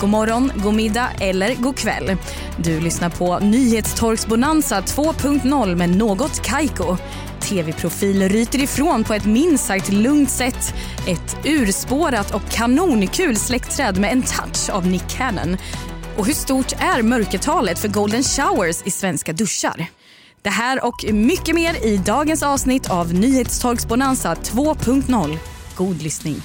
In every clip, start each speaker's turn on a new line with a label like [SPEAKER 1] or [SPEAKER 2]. [SPEAKER 1] God morgon, god middag eller god kväll. Du lyssnar på Nyhetstorksbonanza 2.0 med något Kaiko. TV-profil ryter ifrån på ett minst sagt lugnt sätt. Ett urspårat och kanonkul släktträd med en touch av Nick Cannon. Och hur stort är mörkertalet för golden showers i svenska duschar? Det här och mycket mer i dagens avsnitt av Nyhetstorksbonanza 2.0. God lyssning.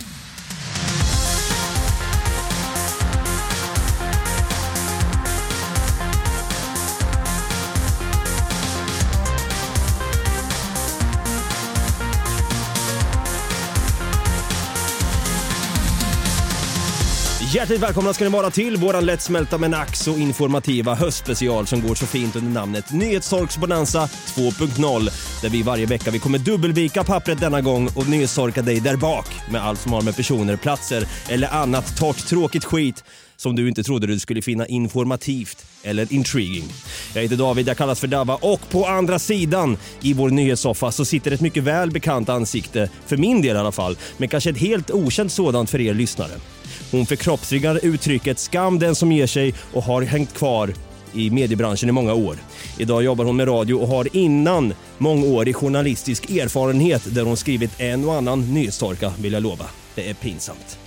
[SPEAKER 2] Hjärtligt välkomna ska ni vara till våran lättsmälta men ack så informativa höstspecial som går så fint under namnet Nyhetstorksbonanza 2.0 där vi varje vecka vi kommer dubbelvika pappret denna gång och nyhetstorka dig där bak med allt som har med personer, platser eller annat torrt tråkigt skit som du inte trodde du skulle finna informativt eller intriguing. Jag heter David, jag kallas för Dava och på andra sidan i vår nyhetssoffa så sitter ett mycket väl bekant ansikte, för min del i alla fall, men kanske ett helt okänt sådant för er lyssnare. Hon förkroppsligar uttrycket “skam den som ger sig” och har hängt kvar i mediebranschen i många år. Idag jobbar hon med radio och har innan mångårig journalistisk erfarenhet där hon skrivit en och annan nyhetstorka, vill jag lova. Det är pinsamt.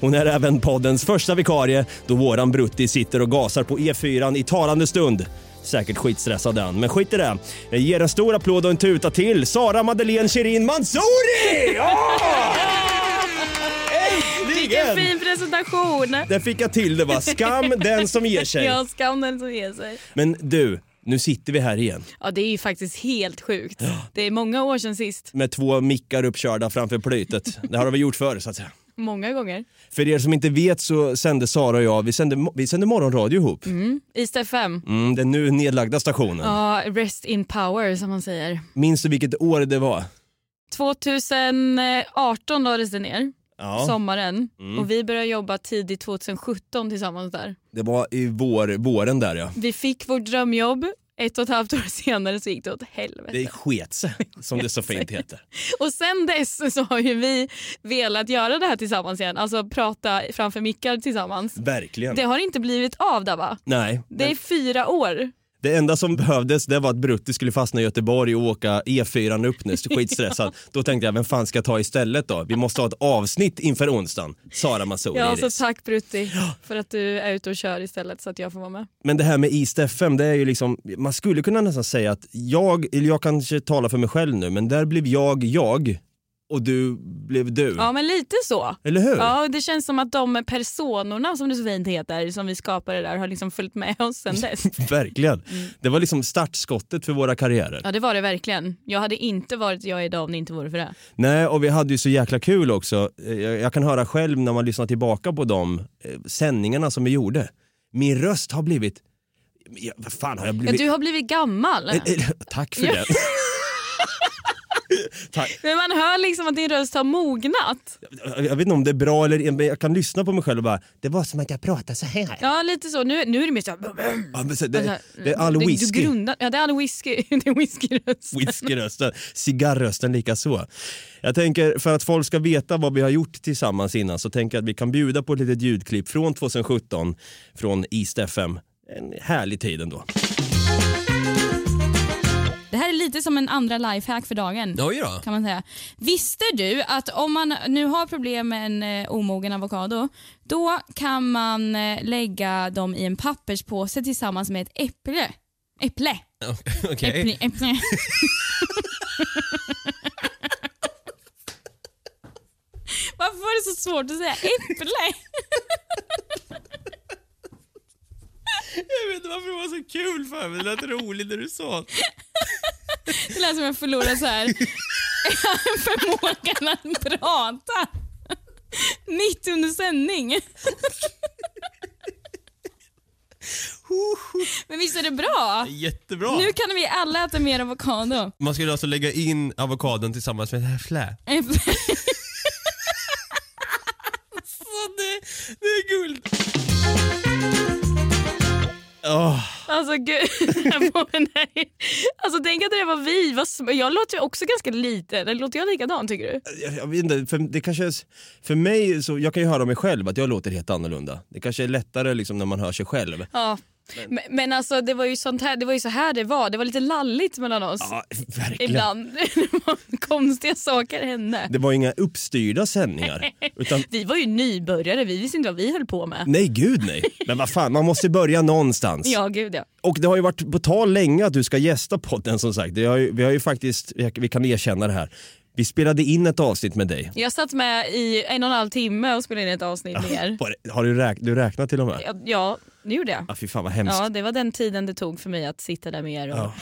[SPEAKER 2] Hon är även poddens första vikarie då våran Brutti sitter och gasar på E4 i talande stund. Säkert skitstressad den, men skit i det. Jag ger en stor applåd och en tuta till Sara Madeleine Shirin Mansouri! Ja! Äntligen!
[SPEAKER 3] Vilken fin presentation!
[SPEAKER 2] Där fick jag till det va. Skam den som ger sig.
[SPEAKER 3] Ja, skam den som ger sig.
[SPEAKER 2] Men du, nu sitter vi här igen
[SPEAKER 3] Ja, det är ju faktiskt helt sjukt. Det är många år sedan sist.
[SPEAKER 2] med två mickar uppkörda framför plytet. Det här har vi gjort förr så att säga.
[SPEAKER 3] Många gånger.
[SPEAKER 2] För er som inte vet så sände Sara och jag, vi sände, mo- vi sände morgonradio ihop.
[SPEAKER 3] East FM.
[SPEAKER 2] Mm, den nu nedlagda stationen.
[SPEAKER 3] Ja, rest in power som man säger.
[SPEAKER 2] Minns du vilket år det var?
[SPEAKER 3] 2018 lades det ner,
[SPEAKER 2] Ja,
[SPEAKER 3] sommaren. Och vi började jobba tidigt 2017 tillsammans där.
[SPEAKER 2] det var i vår, våren där ja.
[SPEAKER 3] Vi fick vårt drömjobb. Ett och ett halvt år senare så gick det åt helvete.
[SPEAKER 2] Det sket sig, som det så fint heter.
[SPEAKER 3] Och sen dess så har ju vi velat göra det här tillsammans igen. Alltså prata framför mickar tillsammans.
[SPEAKER 2] Verkligen.
[SPEAKER 3] Det har inte blivit av där va?
[SPEAKER 2] Nej,
[SPEAKER 3] Det är fyra år.
[SPEAKER 2] Det enda som behövdes det var att Brutti skulle fastna i Göteborg och åka E4 upp nu, så skitstressad. Då tänkte jag, vem fan ska jag ta istället då? Vi måste ha ett avsnitt inför onsdagen. Sara Masoud
[SPEAKER 3] Ja, så
[SPEAKER 2] Iris.
[SPEAKER 3] Alltså, tack Brutti för att du är ute och kör istället så att jag får vara med.
[SPEAKER 2] Men det här med East FM, det är ju liksom, man skulle kunna nästan säga att jag, eller jag kanske talar för mig själv nu, men där blev jag jag och du blev du.
[SPEAKER 3] Ja, men lite så.
[SPEAKER 2] Eller hur?
[SPEAKER 3] Ja, och det känns som att de personerna som det så fint heter som vi skapade där har liksom följt med oss sen dess.
[SPEAKER 2] Verkligen.
[SPEAKER 3] Mm.
[SPEAKER 2] Det var liksom startskottet för våra karriärer.
[SPEAKER 3] Ja, det var det verkligen. Jag hade inte varit jag idag om det inte vore för det.
[SPEAKER 2] Nej, och vi hade ju så jäkla kul också. Eh, Jag, jag kan höra själv när man lyssnar tillbaka på de eh, sändningarna som vi gjorde. Min röst har blivit... Ja, vad fan har jag
[SPEAKER 3] Ja,
[SPEAKER 2] blivit?
[SPEAKER 3] du har blivit gammal.
[SPEAKER 2] Eh, eh, Tack för
[SPEAKER 3] Ja.
[SPEAKER 2] det. Tack.
[SPEAKER 3] Men man hör liksom att din röst har mognat.
[SPEAKER 2] Jag vet inte om det är bra eller men jag kan lyssna på mig själv och bara, det var som att jag pratade så här.
[SPEAKER 3] Ja, lite så. Nu, nu är det mer så här...
[SPEAKER 2] Ja, men så, det,
[SPEAKER 3] Alltså,
[SPEAKER 2] det är all
[SPEAKER 3] du- Du
[SPEAKER 2] whisky.
[SPEAKER 3] grundar, ja, det är all whisky. det är whiskyröst.
[SPEAKER 2] Whiskyrösten, cigarrösten lika så. Jag tänker för att folk ska veta vad vi har gjort tillsammans innan så tänker jag att vi kan bjuda på ett litet ljudklipp från 2017 från East FM. En härlig tid ändå.
[SPEAKER 1] Det här är lite som en andra lifehack för dagen.
[SPEAKER 2] Oj då.
[SPEAKER 1] kan man säga. Visste du att om man nu har problem med en eh, omogen avokado då kan man eh, lägga dem i en papperspåse tillsammans med ett äpple. Äpple. Äpple, äpple. Varför var det så svårt att säga äpple?
[SPEAKER 2] Jag vet inte varför det var så kul för mig. Det lät roligt när du sa det.
[SPEAKER 1] Det lät som jag förlorade så här förmågan att prata. Mitt under sändning.
[SPEAKER 3] Men visst är det bra?
[SPEAKER 4] Jättebra!
[SPEAKER 3] Nu kan vi alla äta mer avokado.
[SPEAKER 4] Man skulle alltså lägga in avokadon tillsammans med det här flä.
[SPEAKER 3] Alltså, det,
[SPEAKER 4] Det är guld! Åh,
[SPEAKER 3] Alltså gud, nej. Alltså tänk att det var vi. Vad sm- jag låter ju också ganska liten. Eller låter jag likadan tycker du?
[SPEAKER 2] Jag, jag vet inte, för, det kanske är, s- för mig, så, jag kan ju höra mig själv att jag låter helt annorlunda. Det kanske är lättare liksom, när man hör sig själv.
[SPEAKER 3] Ja. Men, men alltså det var ju sånt här, det var ju så här det var. Det var lite lalligt mellan oss.
[SPEAKER 2] Ja, verkligen.
[SPEAKER 3] Ibland. Det var Konstiga saker hände.
[SPEAKER 2] Det var ju inga uppstyrda sändningar. Utan,
[SPEAKER 3] Vi var ju nybörjare, vi visste inte vad vi höll på med.
[SPEAKER 2] nej, gud nej. Men vad fan, man måste börja någonstans.
[SPEAKER 3] Ja, gud ja.
[SPEAKER 2] Och det har ju varit på tal länge att du ska gästa podden som sagt. Det har ju, vi har ju faktiskt, vi kan erkänna det här. Vi spelade in ett avsnitt med dig.
[SPEAKER 3] Jag satt med i en och en halv timme och spelade in ett avsnitt med er.
[SPEAKER 2] Var det- Har du, räk, du räknat till och med?
[SPEAKER 3] Ja, Ja, det gjorde jag.
[SPEAKER 2] Ah, fy fan vad hemskt.
[SPEAKER 3] Ja, det var den tiden det tog för mig att sitta där med er. Och...
[SPEAKER 2] Ja.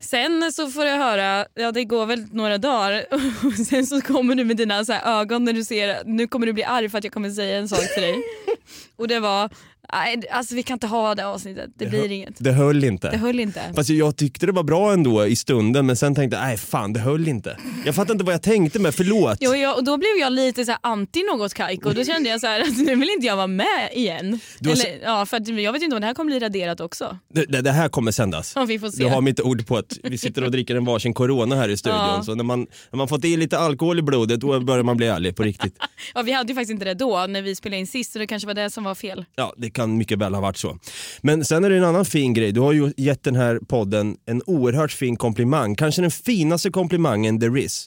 [SPEAKER 3] Sen så får jag höra, ja det går väl några dagar och sen så kommer du med dina så här ögon när du ser, nu kommer du bli arg för att jag kommer säga en sak till dig. och det var, nej alltså vi kan inte ha det avsnittet, det, blir inget.
[SPEAKER 2] Det höll inte.
[SPEAKER 3] Det höll inte.
[SPEAKER 2] Fast jag tyckte det var bra ändå i stunden men sen tänkte jag, nej fan det höll inte. Jag fattar inte vad jag tänkte med, förlåt.
[SPEAKER 3] Jo, jag, och då blev jag lite så här anti något Kaiko och då kände jag så här att nu vill inte jag vara med igen.
[SPEAKER 2] Du har
[SPEAKER 3] Eller, ja, för att jag vet inte om det här kommer bli raderat också.
[SPEAKER 2] Det- Det, det här kommer sändas.
[SPEAKER 3] Ja, vi får se.
[SPEAKER 2] Du har mitt ord på att vi sitter och dricker en varsin corona här i studion.
[SPEAKER 3] Ja.
[SPEAKER 2] Så när man, när man fått i lite alkohol i blodet då börjar man bli ärlig på riktigt.
[SPEAKER 3] Ja, vi hade ju faktiskt inte det då när vi spelade in sist så det kanske var det som var fel.
[SPEAKER 2] Ja, det kan mycket väl ha varit så. Men sen är det en annan fin grej. Du har ju gett den här podden en oerhört fin komplimang. Kanske den finaste komplimangen there is.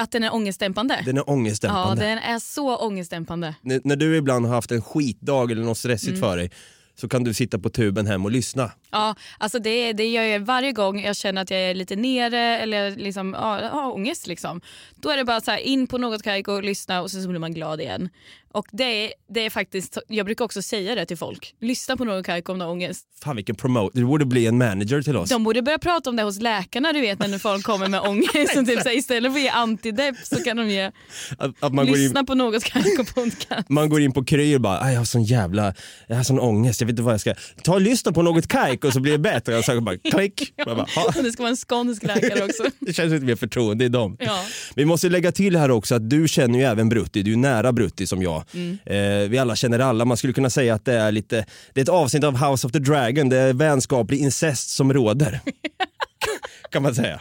[SPEAKER 3] Att den är ångestdämpande.
[SPEAKER 2] Den är
[SPEAKER 3] Ja,
[SPEAKER 2] ångestdämpande.
[SPEAKER 3] den är så ångestdämpande.
[SPEAKER 2] N- När du ibland har haft en skitdag eller något stressigt för dig så kan du sitta på tuben hem och lyssna.
[SPEAKER 3] Ja, alltså det, det gör jag varje gång jag känner att jag är lite nere eller liksom, ja, har ångest. Liksom. Då är det bara så här, in på något kajk och lyssna och sen så blir man glad igen. Och det, är- det är faktiskt, jag brukar också säga det till folk. Lyssna på något kajk om du har ångest.
[SPEAKER 2] Fan vilken promote. Du borde bli en manager till oss.
[SPEAKER 3] De borde börja prata om det hos läkarna du vet när folk kommer med ångest. och typ, så här, istället för att ge antidepp så kan de ge
[SPEAKER 2] Att, att man, går in,
[SPEAKER 3] lyssna på något kajk och podcast.
[SPEAKER 2] man går in på Kry och bara, "Aj, jag har sån jävla, jag har sån ångest, jag vet inte vad jag ska... Ta och lyssna på något kajk och så blir det bättre. Och så bara klick. Man bara, "Ha."
[SPEAKER 3] Och Det ska vara en skånsk läkare också.
[SPEAKER 2] Det känns lite mer förtroende i dem.
[SPEAKER 3] Ja.
[SPEAKER 2] Vi måste lägga till här också att du känner ju även Brutti, du är nära Brutti som jag.
[SPEAKER 3] Mm.
[SPEAKER 2] Eh, vi alla känner alla, man skulle kunna säga att det är lite, det är ett avsnitt av House of the Dragon, det är vänskaplig incest som råder. kan man säga.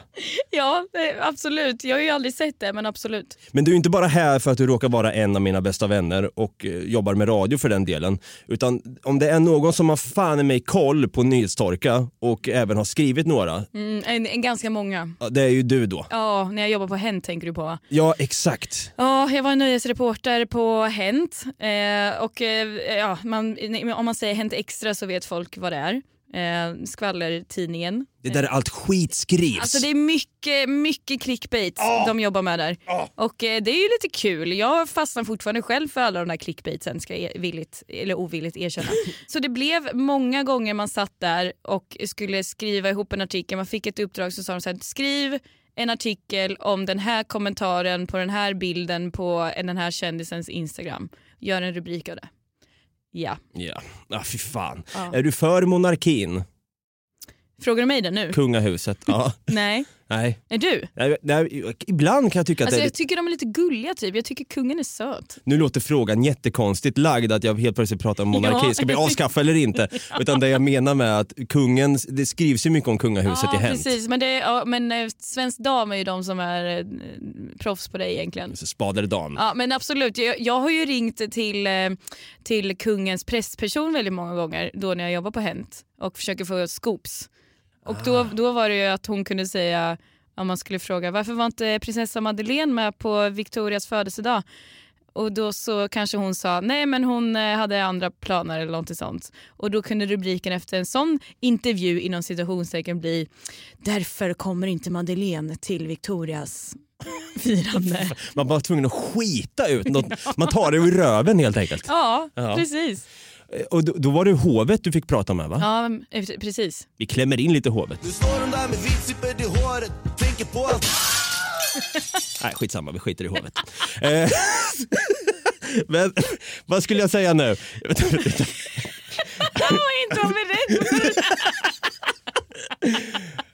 [SPEAKER 3] Ja, det- absolut. Jag har ju aldrig sett det, men absolut.
[SPEAKER 2] Men du är inte bara här för att du råkar vara en av mina bästa vänner och eh, jobbar med radio för den delen. Utan om det är någon som har fan i mig koll på nyhetstorka och även har skrivit några,
[SPEAKER 3] Mm, en, en ganska många.
[SPEAKER 2] ja, det är ju du då.
[SPEAKER 3] Ja, när jag jobbar på Hent tänker du på va?
[SPEAKER 2] Ja, exakt.
[SPEAKER 3] Ja, jag var nöjesreporter på Hent. Eh, och eh, ja, man, om man säger Hent Extra så vet folk vad det är. Eh, skvallertidningen.
[SPEAKER 2] Det är där allt skit skrivs.
[SPEAKER 3] Eh. Alltså det är mycket, mycket clickbait de jobbar med där. Och eh, det är ju lite kul. Jag fastnar fortfarande själv för alla de där clickbaitsen ska jag villigt, eller ovilligt erkänna. Så det blev många gånger man satt där och skulle skriva ihop en artikel. Man fick ett uppdrag så sa de så här, skriv en artikel om den här kommentaren på den här bilden på den här kändisens Instagram. Gör en rubrik av det. Ja.
[SPEAKER 2] Ja, ah, fy fan.
[SPEAKER 3] Ja.
[SPEAKER 2] Är du för monarkin?
[SPEAKER 3] Frågar du mig det nu?
[SPEAKER 2] Kungahuset? Ja.
[SPEAKER 3] Nej.
[SPEAKER 2] Nej.
[SPEAKER 3] Är du?
[SPEAKER 2] Nej, nej, Ibland kan jag tycka att
[SPEAKER 3] Alltså
[SPEAKER 2] det är
[SPEAKER 3] jag
[SPEAKER 2] lite...
[SPEAKER 3] tycker de är lite gulliga typ. Jag tycker kungen är söt.
[SPEAKER 2] Nu låter frågan jättekonstigt lagd att jag helt plötsligt pratar om monarki.
[SPEAKER 3] Ja.
[SPEAKER 2] Ska vi avskaffa eller inte? Utan det jag menar med att kungen, det skrivs ju mycket om kungahuset i
[SPEAKER 3] ja,
[SPEAKER 2] Hänt.
[SPEAKER 3] precis. Men, det, ja, men eh, Svensk Dam är ju de som är eh, proffs på det egentligen.
[SPEAKER 2] Så Spader Dan.
[SPEAKER 3] Ja, men absolut. Jag, jag har ju ringt till, eh, till kungens pressperson väldigt många gånger då när jag jobbar på Hent och försöker få scoops. Och då, då var det ju att hon kunde säga, om man skulle fråga varför var inte prinsessa Madeleine med på Victorias födelsedag? Och då så kanske hon sa nej men hon eh, hade andra planer eller någonting sånt. Och då kunde rubriken efter en sån intervju inom citationstecken bli därför kommer inte Madeleine till Victorias firande.
[SPEAKER 2] Man var tvungen att skita ut något. Man tar det ur röven helt enkelt.
[SPEAKER 3] Ja,
[SPEAKER 2] Ja.
[SPEAKER 3] precis.
[SPEAKER 2] Och då, då var det hovet du fick prata med va?
[SPEAKER 3] Ja, men, eh, precis.
[SPEAKER 2] Vi klämmer in lite hovet.
[SPEAKER 5] Nu står hon där med vitsippet i håret, tänker på allt
[SPEAKER 2] Nej, skitsamma, vi skiter i hovet. Eh, Men vad skulle jag säga nu?
[SPEAKER 3] Han var inte han beredd på det.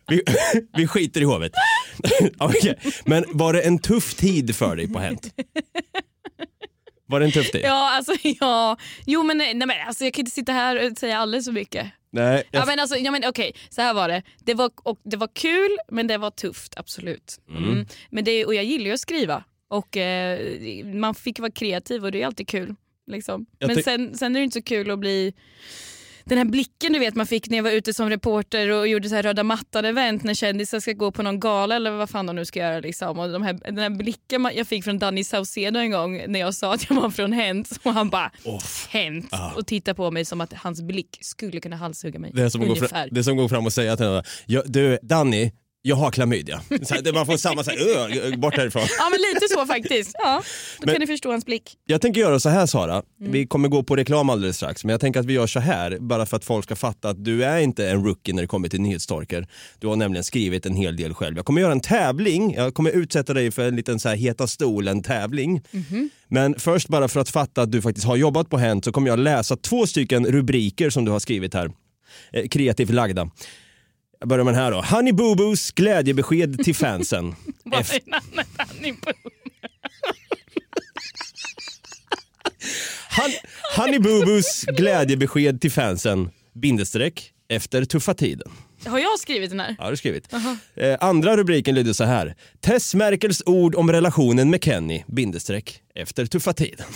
[SPEAKER 2] Vi, vi skiter i hovet. Okej, Men var det en tuff tid för dig på Hänt? Var det en tuff tid?
[SPEAKER 3] Ja, alltså ja. Jo men, nej, men alltså, jag kan inte sitta här och säga alldeles så mycket.
[SPEAKER 2] Nej, jag,
[SPEAKER 3] Ja, men alltså, ja, men, okej, så här var det. Det var, och, det var kul men det var tufft, absolut. Mm. Men det, och jag gillar ju att skriva och eh, man fick vara kreativ och det är alltid kul. Liksom.
[SPEAKER 2] Jag
[SPEAKER 3] Men
[SPEAKER 2] ty-
[SPEAKER 3] sen, sen är det inte så kul att bli den här blicken du vet man fick när jag var ute som reporter och gjorde så här röda mattan-event när kändisar ska gå på någon gala eller vad fan de nu ska göra. Liksom. Och de här, den här blicken man- jag fick från Danny Saucedo en gång när jag sa att jag var från Hänt och han bara Hänt och tittade på mig som att hans blick skulle kunna halshugga mig.
[SPEAKER 2] det, är som att gå fram,
[SPEAKER 3] Ungefär.
[SPEAKER 2] det är som att gå fram och säga till henne, "Ja, du Danny, jag har klamydia. Så här, det- man får samma, så här, "Ugh", bort härifrån.
[SPEAKER 3] Ja men lite så faktiskt. Ja, då
[SPEAKER 2] Men-
[SPEAKER 3] kan ni förstå hans blick.
[SPEAKER 2] Jag tänker göra så här Sara,
[SPEAKER 3] Mm.
[SPEAKER 2] vi kommer gå på reklam alldeles strax, men jag tänker att vi gör så här bara för att folk ska fatta att du är inte en rookie när det kommer till nyhetstorker. Du har nämligen skrivit en hel del själv. Jag kommer göra en tävling, jag kommer utsätta dig för en liten så här heta stolen-tävling.
[SPEAKER 3] Mhm.
[SPEAKER 2] Men först bara för att fatta att du faktiskt har jobbat på Hänt så kommer jag läsa två stycken rubriker som du har skrivit här. Eh, kreativt lagda. Jag börjar med den här då. Honey Boo Boos glädjebesked till fansen.
[SPEAKER 3] Vad
[SPEAKER 2] Efter-
[SPEAKER 3] är namnet han är på?
[SPEAKER 2] Han, Honey Boo Boos glädjebesked till fansen, bindestreck, efter tuffa tiden.
[SPEAKER 3] Har jag skrivit den här?
[SPEAKER 2] Ja, det har du skrivit. Eh, andra rubriken lyder så här. Tess Merkels ord om relationen med Kenny, bindestreck, efter tuffa tiden.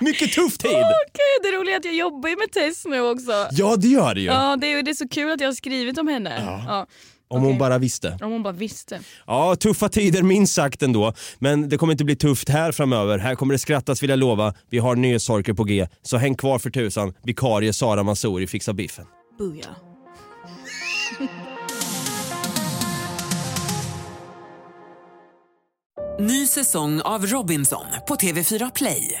[SPEAKER 2] Mycket tuff tid!
[SPEAKER 3] Okej, det roliga är att jag jobbar ju med Tess nu också.
[SPEAKER 2] Ja, det gör det ju.
[SPEAKER 3] Ja, det är, det är så kul att jag har skrivit om henne. Ja.
[SPEAKER 2] Om hon bara visste.
[SPEAKER 3] Om hon bara visste.
[SPEAKER 2] Ja, tuffa tider minst sagt ändå. Men det kommer inte bli tufft här framöver. Här kommer det skrattas vill jag lova. Vi har nyhetssorker på G. Så häng kvar för tusan. Vikarie Sara Mansouri fixar biffen.
[SPEAKER 3] Buja.
[SPEAKER 6] Ny säsong av Robinson på TV4 Play.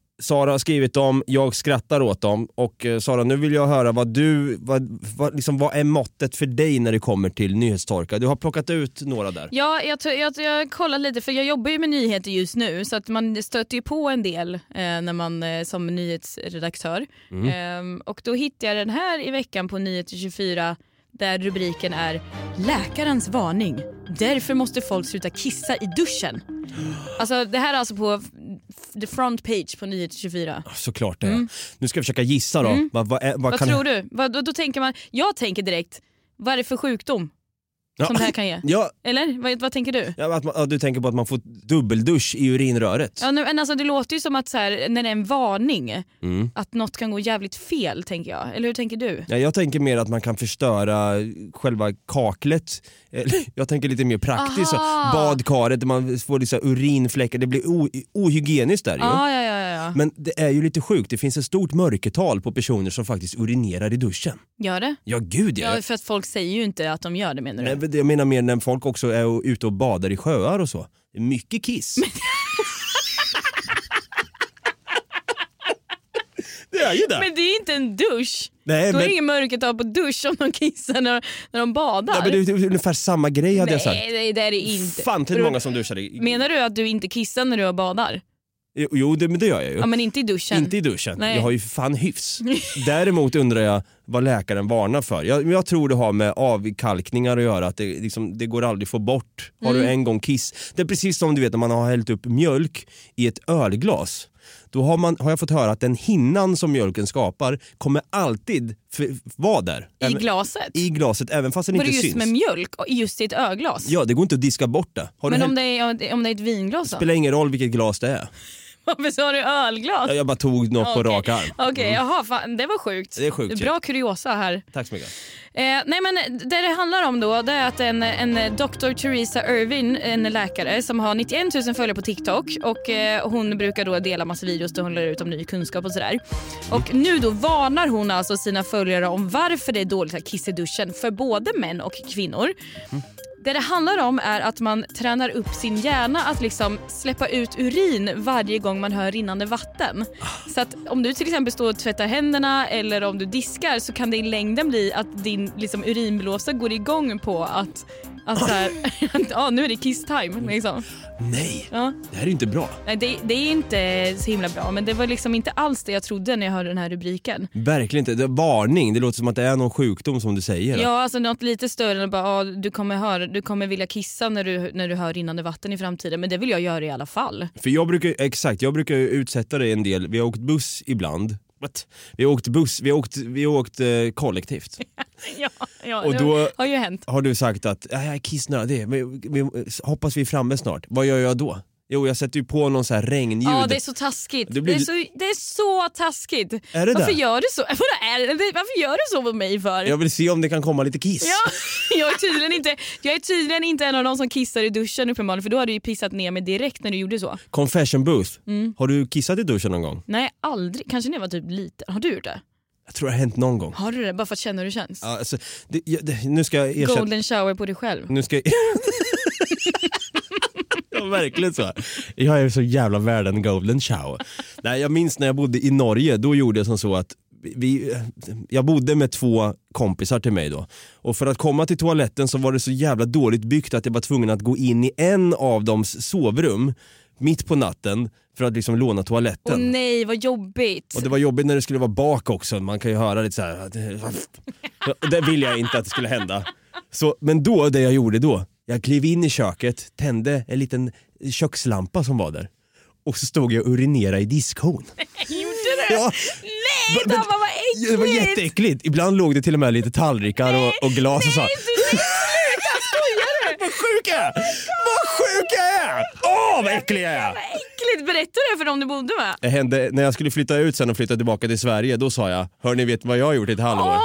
[SPEAKER 2] Sara har skrivit om, jag skrattar åt dem. Och eh, Sara, nu vill jag höra vad du, vad, vad, liksom, vad är måttet för dig när det kommer till nyhetstorka? Du har plockat ut några där.
[SPEAKER 3] Ja, jag, tror- jag, jag har kollat lite för jag jobbar ju med nyheter just nu så att man stöter ju på en del eh, när man eh, som nyhetsredaktör.
[SPEAKER 2] Mm.
[SPEAKER 3] Ehm, och då hittade jag den här i veckan på Nyheter 24 där rubriken är “Läkarens varning. Därför måste folk sluta kissa i duschen”. Alltså det här är alltså på f- the front page på Nyheter 24.
[SPEAKER 2] Såklart det. Nu ska jag försöka gissa då. Vad, vad, är- vad
[SPEAKER 3] Mm. Vad
[SPEAKER 2] kan-
[SPEAKER 3] tror du? Vad, då, då tänker man, jag tänker direkt, vad är det för sjukdom
[SPEAKER 2] Ja.
[SPEAKER 3] som det här kan ge?
[SPEAKER 2] Ja,
[SPEAKER 3] Eller vad, vad tänker du?
[SPEAKER 2] ja, att man, ja, du tänker på att man får dubbeldusch i urinröret.
[SPEAKER 3] Ja, nu, men alltså, det låter ju som att så här, när det är en varning,
[SPEAKER 2] Mm.
[SPEAKER 3] att något kan gå jävligt fel tänker jag. Eller hur tänker du?
[SPEAKER 2] Ja, jag tänker mer att man kan förstöra själva kaklet. Eller, Jag tänker lite mer praktiskt. Så
[SPEAKER 3] Aha.
[SPEAKER 2] badkaret där man får liksom urinfläckar. Det blir o- ohygieniskt där ju.
[SPEAKER 3] Ja, ja, ja, ja, ja.
[SPEAKER 2] Men det är ju lite sjukt. Det finns ett stort mörkertal på personer som faktiskt urinerar i duschen.
[SPEAKER 3] Gör det?
[SPEAKER 2] Ja, gud ja.
[SPEAKER 3] Ja, för att folk säger ju inte att de gör det menar du?
[SPEAKER 2] Nej, men Jag menar mer när folk också är ute och badar i sjöar och så. Det är Mycket kiss. det är ju det.
[SPEAKER 3] Men det är ju inte en dusch.
[SPEAKER 2] Nej,
[SPEAKER 3] Då är
[SPEAKER 2] men-
[SPEAKER 3] det ingen mörkertal på dusch om de kissar när, när de badar.
[SPEAKER 2] Ja, men det är ju ungefär samma grej hade jag sagt.
[SPEAKER 3] nej, nej, det är det inte.
[SPEAKER 2] Fan till
[SPEAKER 3] Beror-
[SPEAKER 2] många som duschar i...
[SPEAKER 3] Menar du att du inte kissar när du badar?
[SPEAKER 2] Jo, Jo, det, men det gör jag ju.
[SPEAKER 3] Ja men inte i duschen.
[SPEAKER 2] Inte i duschen.
[SPEAKER 3] Nej.
[SPEAKER 2] Jag har ju för fan hyfs. Däremot undrar jag vad läkaren varnar för. Jag, jag tror det har med avkalkningar att göra, att det, liksom, det går aldrig att få bort.
[SPEAKER 1] Mm.
[SPEAKER 2] Har du en gång kiss. Det är precis som du vet när man har hällt upp mjölk i ett ölglas. då har, man, har jag fått höra att den hinnan som mjölken skapar kommer alltid f- vara där.
[SPEAKER 1] I glaset?
[SPEAKER 2] I glaset, även fast den
[SPEAKER 1] Var det
[SPEAKER 2] inte
[SPEAKER 1] just
[SPEAKER 2] syns.
[SPEAKER 1] med mjölk och just i ett öglas?
[SPEAKER 2] Ja, det går inte att diska bort det. Har
[SPEAKER 1] Men
[SPEAKER 2] du
[SPEAKER 1] om
[SPEAKER 2] hällt-
[SPEAKER 1] det, är, om det är ett vinglas då?
[SPEAKER 2] det spelar ingen roll vilket glas det är.
[SPEAKER 1] Varför sa du ölglas?
[SPEAKER 2] Jag bara tog något på
[SPEAKER 1] Okej.
[SPEAKER 2] rak arm.
[SPEAKER 1] Okej,
[SPEAKER 2] Mm.
[SPEAKER 1] jaha, fan, det var sjukt.
[SPEAKER 2] Det är sjukt,
[SPEAKER 1] Bra
[SPEAKER 2] ja.
[SPEAKER 1] kuriosa här.
[SPEAKER 2] Tack så mycket.
[SPEAKER 1] Eh, nej men det det handlar om då det är att en, en Dr. Theresa Irvin, en läkare som har 91 000 följare på TikTok och eh, hon brukar då dela massa videos där hon lär ut om ny kunskap och sådär. Och nu då varnar hon alltså sina följare om varför det är dåligt att kissa i duschen för både män och kvinnor. Det det handlar om är att man tränar upp sin hjärna att liksom släppa ut urin varje gång man hör rinnande vatten. Så att om du till exempel står och tvättar händerna eller om du diskar så kan det i längden bli att din liksom, urinblåsa går igång på att, att så här, ja, nu är det kiss-time. Liksom.
[SPEAKER 2] Nej,
[SPEAKER 1] Ja.
[SPEAKER 2] det här är ju inte bra.
[SPEAKER 1] Nej, Det, det är inte så himla bra men det var liksom inte alls det jag trodde när jag hörde den här rubriken.
[SPEAKER 2] Verkligen inte. Det är varning, det låter som att det är någon sjukdom som du säger.
[SPEAKER 1] Ja, alltså något lite större än att bara, ja, du, kommer höra, du kommer vilja kissa när du, när du hör rinnande vatten i framtiden men det vill jag göra i alla fall.
[SPEAKER 2] För jag brukar, exakt, jag brukar ju utsätta dig en del, vi har åkt buss ibland. What? Vi har åkt buss, vi har åkt, vi har åkt eh, kollektivt.
[SPEAKER 1] Ja, ja
[SPEAKER 2] Och
[SPEAKER 1] det
[SPEAKER 2] då-
[SPEAKER 1] har ju hänt.
[SPEAKER 2] Har du sagt att "Ja, jag är kissnödig, vi, vi, hoppas vi är framme snart. Vad gör jag då? Jo, jag sätter ju på någon så här regnljud.
[SPEAKER 1] Ja, det är så taskigt. Det,
[SPEAKER 2] Det blir-
[SPEAKER 1] är, så, det är så taskigt.
[SPEAKER 2] Är det
[SPEAKER 1] Varför
[SPEAKER 2] det?
[SPEAKER 1] gör du så? Vadå, är det? Varför gör du så mot mig för?
[SPEAKER 2] Jag vill se om det kan komma lite kiss.
[SPEAKER 1] Ja, jag, är tydligen inte, jag är tydligen inte en av de som kissar i duschen uppenbarligen för då har du ju pissat ner mig direkt när du gjorde så.
[SPEAKER 2] Confession booth.
[SPEAKER 1] Mm.
[SPEAKER 2] Har du kissat i duschen någon gång?
[SPEAKER 1] Nej, aldrig. Kanske när jag var typ liten. Har du gjort det?
[SPEAKER 2] Jag tror det har hänt någon gång.
[SPEAKER 1] Har du det? Bara för att känna hur det känns?
[SPEAKER 2] Ja, Alltså, det, jag, det, nu ska jag erkänna...
[SPEAKER 1] Golden shower på dig själv.
[SPEAKER 2] Nu ska jag... ja, verkligen så. Jag är så jävla värd en golden shower. Nej, jag minns när jag bodde i Norge, då gjorde jag som så att vi, jag bodde med två kompisar till mig då och för att komma till toaletten så var det så jävla dåligt byggt att jag var tvungen att gå in i en av dems sovrum mitt på natten för att liksom låna toaletten.
[SPEAKER 1] Åh nej, vad jobbigt.
[SPEAKER 2] Och det var jobbigt när det skulle vara bak också, man kan ju höra lite så här. Det vill jag inte att det skulle hända. Så, men då, det jag gjorde då, jag klev in i köket, tände en liten kökslampa som var där och så stod jag och urinerade i diskhon.
[SPEAKER 1] Gjorde du?
[SPEAKER 2] Ja.
[SPEAKER 1] Nej,
[SPEAKER 2] Men-
[SPEAKER 1] Dabba vad
[SPEAKER 2] Det var
[SPEAKER 1] äckligt!
[SPEAKER 2] jätteäckligt, ibland låg det till och med lite tallrikar och, och glas och så.
[SPEAKER 1] Sluta, skojar du?
[SPEAKER 2] Vad sjuk jag är! Vad sjuk jag är! Åh vad äcklig jag är!
[SPEAKER 1] Äckligt, berätta det för dem du bodde med.
[SPEAKER 2] Det hände, när jag skulle flytta ut sen och flytta tillbaka till Sverige, då sa jag, hörni vet ni vad jag har gjort i ett halvår?
[SPEAKER 1] Åh,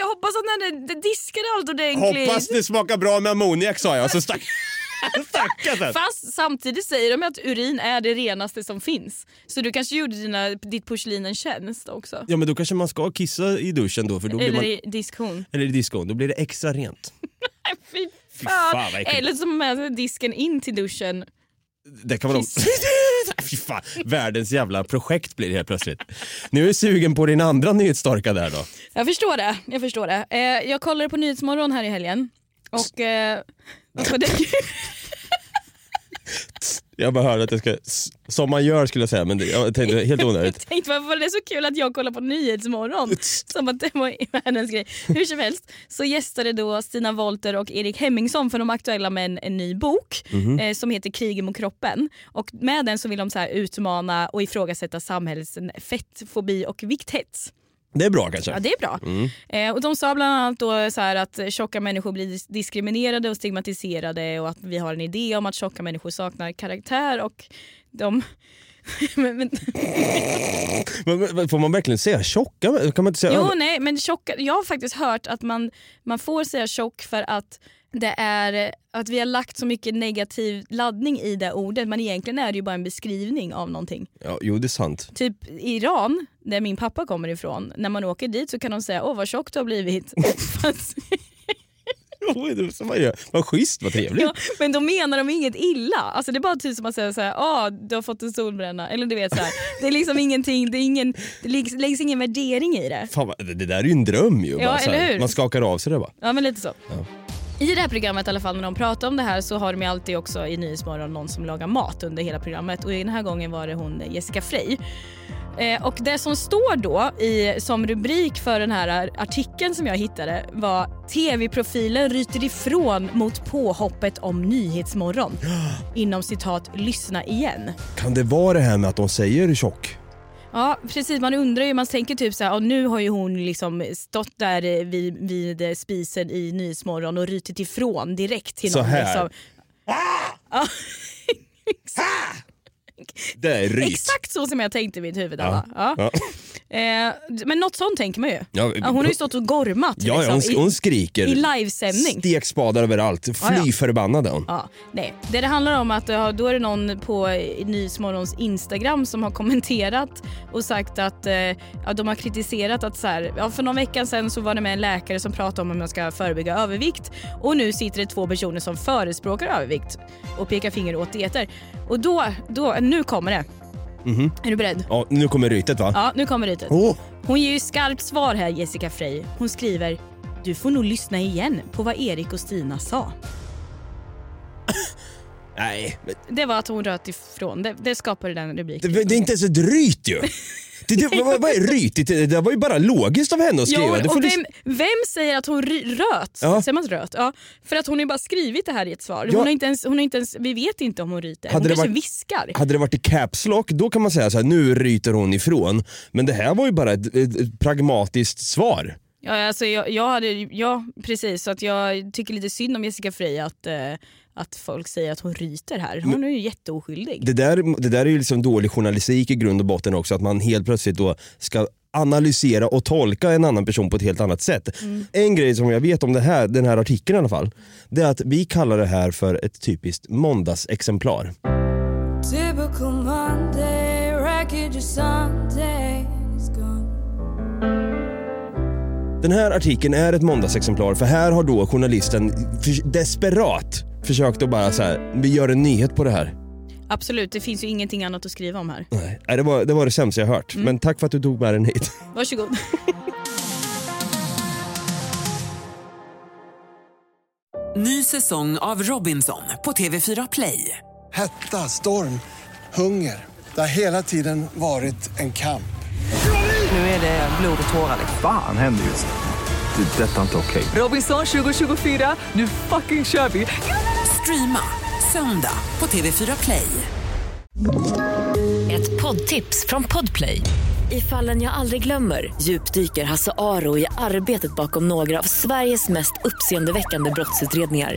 [SPEAKER 1] jag hoppas att när det, det diskade allt ordentligt.
[SPEAKER 2] Hoppas det smakar bra med ammoniak sa jag, så stack, stackars den.
[SPEAKER 1] Fast samtidigt säger de att urin är det renaste som finns. Så du kanske gjorde dina, ditt porslin en tjänst också.
[SPEAKER 2] Ja men då kanske man ska kissa i duschen då för då blir
[SPEAKER 1] Eller
[SPEAKER 2] man,
[SPEAKER 1] i diskhon.
[SPEAKER 2] eller i diskon, då blir det extra rent.
[SPEAKER 1] Fy
[SPEAKER 2] fan,
[SPEAKER 1] fan.
[SPEAKER 2] vad äckligt.
[SPEAKER 1] Eller så med sig disken in till duschen.
[SPEAKER 2] Det kan man också... Fy fan, världens jävla projekt blir det helt plötsligt. Nu är jag sugen på din andra nyhetsstorka där då.
[SPEAKER 1] Jag förstår det. Jag förstår det. Eh, jag kollade på Nyhetsmorgon här i helgen. Och... Eh, och det,
[SPEAKER 2] Jag bara hörde att jag ska... Som man gör skulle jag säga, men det- jag tänkte helt onödigt.
[SPEAKER 1] Jag tänkte varför var det så kul att jag kollar på Nyhetsmorgon? Som att det var världens grej. Hur som helst så gästade då Stina Wolter och Erik Hemmingsson för de är aktuella med en, en ny bok
[SPEAKER 7] Mhm.
[SPEAKER 1] eh, som heter Kriget mot kroppen. Och med den så vill de så här utmana och ifrågasätta samhällets fettfobi och vikthets.
[SPEAKER 2] Det är bra kanske?
[SPEAKER 1] Ja, det är bra.
[SPEAKER 2] Mm.
[SPEAKER 1] Eh, och de sa bland annat då så här att tjocka människor blir dis- diskriminerade och stigmatiserade och att vi har en idé om att tjocka människor saknar karaktär och de... men, men,
[SPEAKER 2] Men, men, men, får man verkligen säga tjocka? Kan man inte säga...
[SPEAKER 1] Jo, nej, men tjocka, jag har faktiskt hört att man, man får säga tjock för att det är att vi har lagt så mycket negativ laddning i det ordet men egentligen är det ju bara en beskrivning av någonting.
[SPEAKER 2] Ja, jo, det är sant.
[SPEAKER 1] Typ Iran, där min pappa kommer ifrån, när man åker dit så kan de säga åh vad tjock du har blivit. Fast-
[SPEAKER 2] Oj, det är så man gör. Vad schysst, vad trevligt.
[SPEAKER 1] ja, men då menar de inget illa. Alltså det är bara typ som att säga såhär, ah, du har fått en solbränna. Eller du vet såhär, det är liksom ingenting, det, är ingen, det läggs, läggs ingen värdering i det.
[SPEAKER 2] Fan, vad- det det där är ju en dröm ju.
[SPEAKER 1] Ja,
[SPEAKER 2] bara, så här.
[SPEAKER 1] eller hur?
[SPEAKER 2] Man skakar av sig det bara.
[SPEAKER 1] Ja men lite så.
[SPEAKER 2] Ja.
[SPEAKER 1] I det här programmet i alla fall när de pratar om det här så har de ju alltid också i Nyhetsmorgon någon som lagar mat under hela programmet och den här gången var det hon Jessica Frey. Eh, och det som står då i, som rubrik för den här artikeln som jag hittade var “TV-profilen ryter ifrån mot påhoppet om Nyhetsmorgon” inom citat “lyssna igen”.
[SPEAKER 2] Kan det vara det här med att de säger tjock?
[SPEAKER 1] Ja precis, man undrar ju, man tänker typ så här, "Ja, nu har ju hon liksom stått där eh, vid, vid eh, spisen i Nyhetsmorgon och rytit ifrån direkt till
[SPEAKER 2] Så
[SPEAKER 1] någon.
[SPEAKER 2] här.
[SPEAKER 1] Liksom. Ja,
[SPEAKER 2] Det är ryt.
[SPEAKER 1] exakt så som jag tänkte i mitt huvud Anna.
[SPEAKER 2] Ja.
[SPEAKER 1] Ja.
[SPEAKER 2] Ja.
[SPEAKER 1] Eh, men något sånt tänker man ju.
[SPEAKER 2] Ja,
[SPEAKER 1] Ja, hon har ju stått och gormat
[SPEAKER 2] Ja, ja, hon,
[SPEAKER 1] liksom, i-
[SPEAKER 2] hon skriker.
[SPEAKER 1] i livesändning.
[SPEAKER 2] Stekspadar överallt. Fly
[SPEAKER 1] Ja, ja.
[SPEAKER 2] förbannad är hon.
[SPEAKER 1] Ja, nej. Det det handlar om att eh, då är det någon på eh, Nyhetsmorgons Instagram som har kommenterat och sagt att eh, ja, de har kritiserat att så här, ja, för någon vecka sedan så var det med en läkare som pratade om hur man ska förebygga övervikt och nu sitter det två personer som förespråkar övervikt och pekar finger åt dieter. Och då, då nu kommer det.
[SPEAKER 2] Mhm.
[SPEAKER 1] Är du beredd?
[SPEAKER 2] Ja, nu kommer rytet va?
[SPEAKER 1] Ja, nu kommer rytet.
[SPEAKER 2] Åh.
[SPEAKER 1] Hon ger ju skarpt svar här Jessica Frey. Hon skriver “Du får nog lyssna igen på vad Erik och Stina sa”.
[SPEAKER 2] Nej, men
[SPEAKER 1] Det var att hon röt ifrån. Det, det skapade den rubriken.
[SPEAKER 2] det, det är inte ens ett ryt ju. Det, det, vad, vad är rytigt? Det där var ju bara logiskt av henne att skriva.
[SPEAKER 1] Jo,
[SPEAKER 2] Det får
[SPEAKER 1] och
[SPEAKER 2] du-
[SPEAKER 1] vem, vem säger att hon ry- röt?
[SPEAKER 2] Ja.
[SPEAKER 1] Säger man röt? Ja, för att hon har ju bara skrivit det här i ett svar.
[SPEAKER 2] Ja.
[SPEAKER 1] Hon har inte ens, hon har inte ens, vi vet inte om hon ryter.
[SPEAKER 2] Hade
[SPEAKER 1] hon
[SPEAKER 2] det
[SPEAKER 1] kanske
[SPEAKER 2] varit-
[SPEAKER 1] viskar.
[SPEAKER 2] Hade det varit i caps lock, då kan man säga så här, nu ryter hon ifrån. Men det här var ju bara ett, ett, ett pragmatiskt svar.
[SPEAKER 1] Ja, alltså, jag, jag hade, ja, precis. Så att jag tycker lite synd om Jessica Frey att, eh, att folk säger att hon ryter här. Hon är ju jätteoskyldig.
[SPEAKER 2] Det där, det där är ju liksom dålig journalistik i grund och botten också, att man helt plötsligt då ska analysera och tolka en annan person på ett helt annat sätt. En grej som jag vet om det här, den här artikeln i alla fall, det är att vi kallar det här för ett typiskt måndagsexemplar.
[SPEAKER 8] Typical Monday, wreckage of Sunday is gone.
[SPEAKER 2] Den här artikeln är ett måndagsexemplar för här har då journalisten för, desperat försökt att bara så här, vi gör en nyhet på det här.
[SPEAKER 1] Absolut, det finns ju ingenting annat att skriva om här. Mm.
[SPEAKER 2] Nej, nej, det var det, var det sämsta jag hört, men tack för att du tog med den hit.
[SPEAKER 1] Varsågod.
[SPEAKER 6] Ny säsong av Robinson på TV4 Play.
[SPEAKER 9] Hetta, storm, hunger. Det har hela tiden varit en kamp.
[SPEAKER 6] Nu är det blod och tårar. liksom.
[SPEAKER 10] Fan händer just nu. Det. är Detta är inte okej.
[SPEAKER 6] Robinson 2024, nu fucking kör vi! Streama söndag på TV4 Play.
[SPEAKER 11] Ett poddtips från Podplay. I fallen jag aldrig glömmer djupdyker Hasse Aro i arbetet bakom några av Sveriges mest uppseendeväckande brottsutredningar.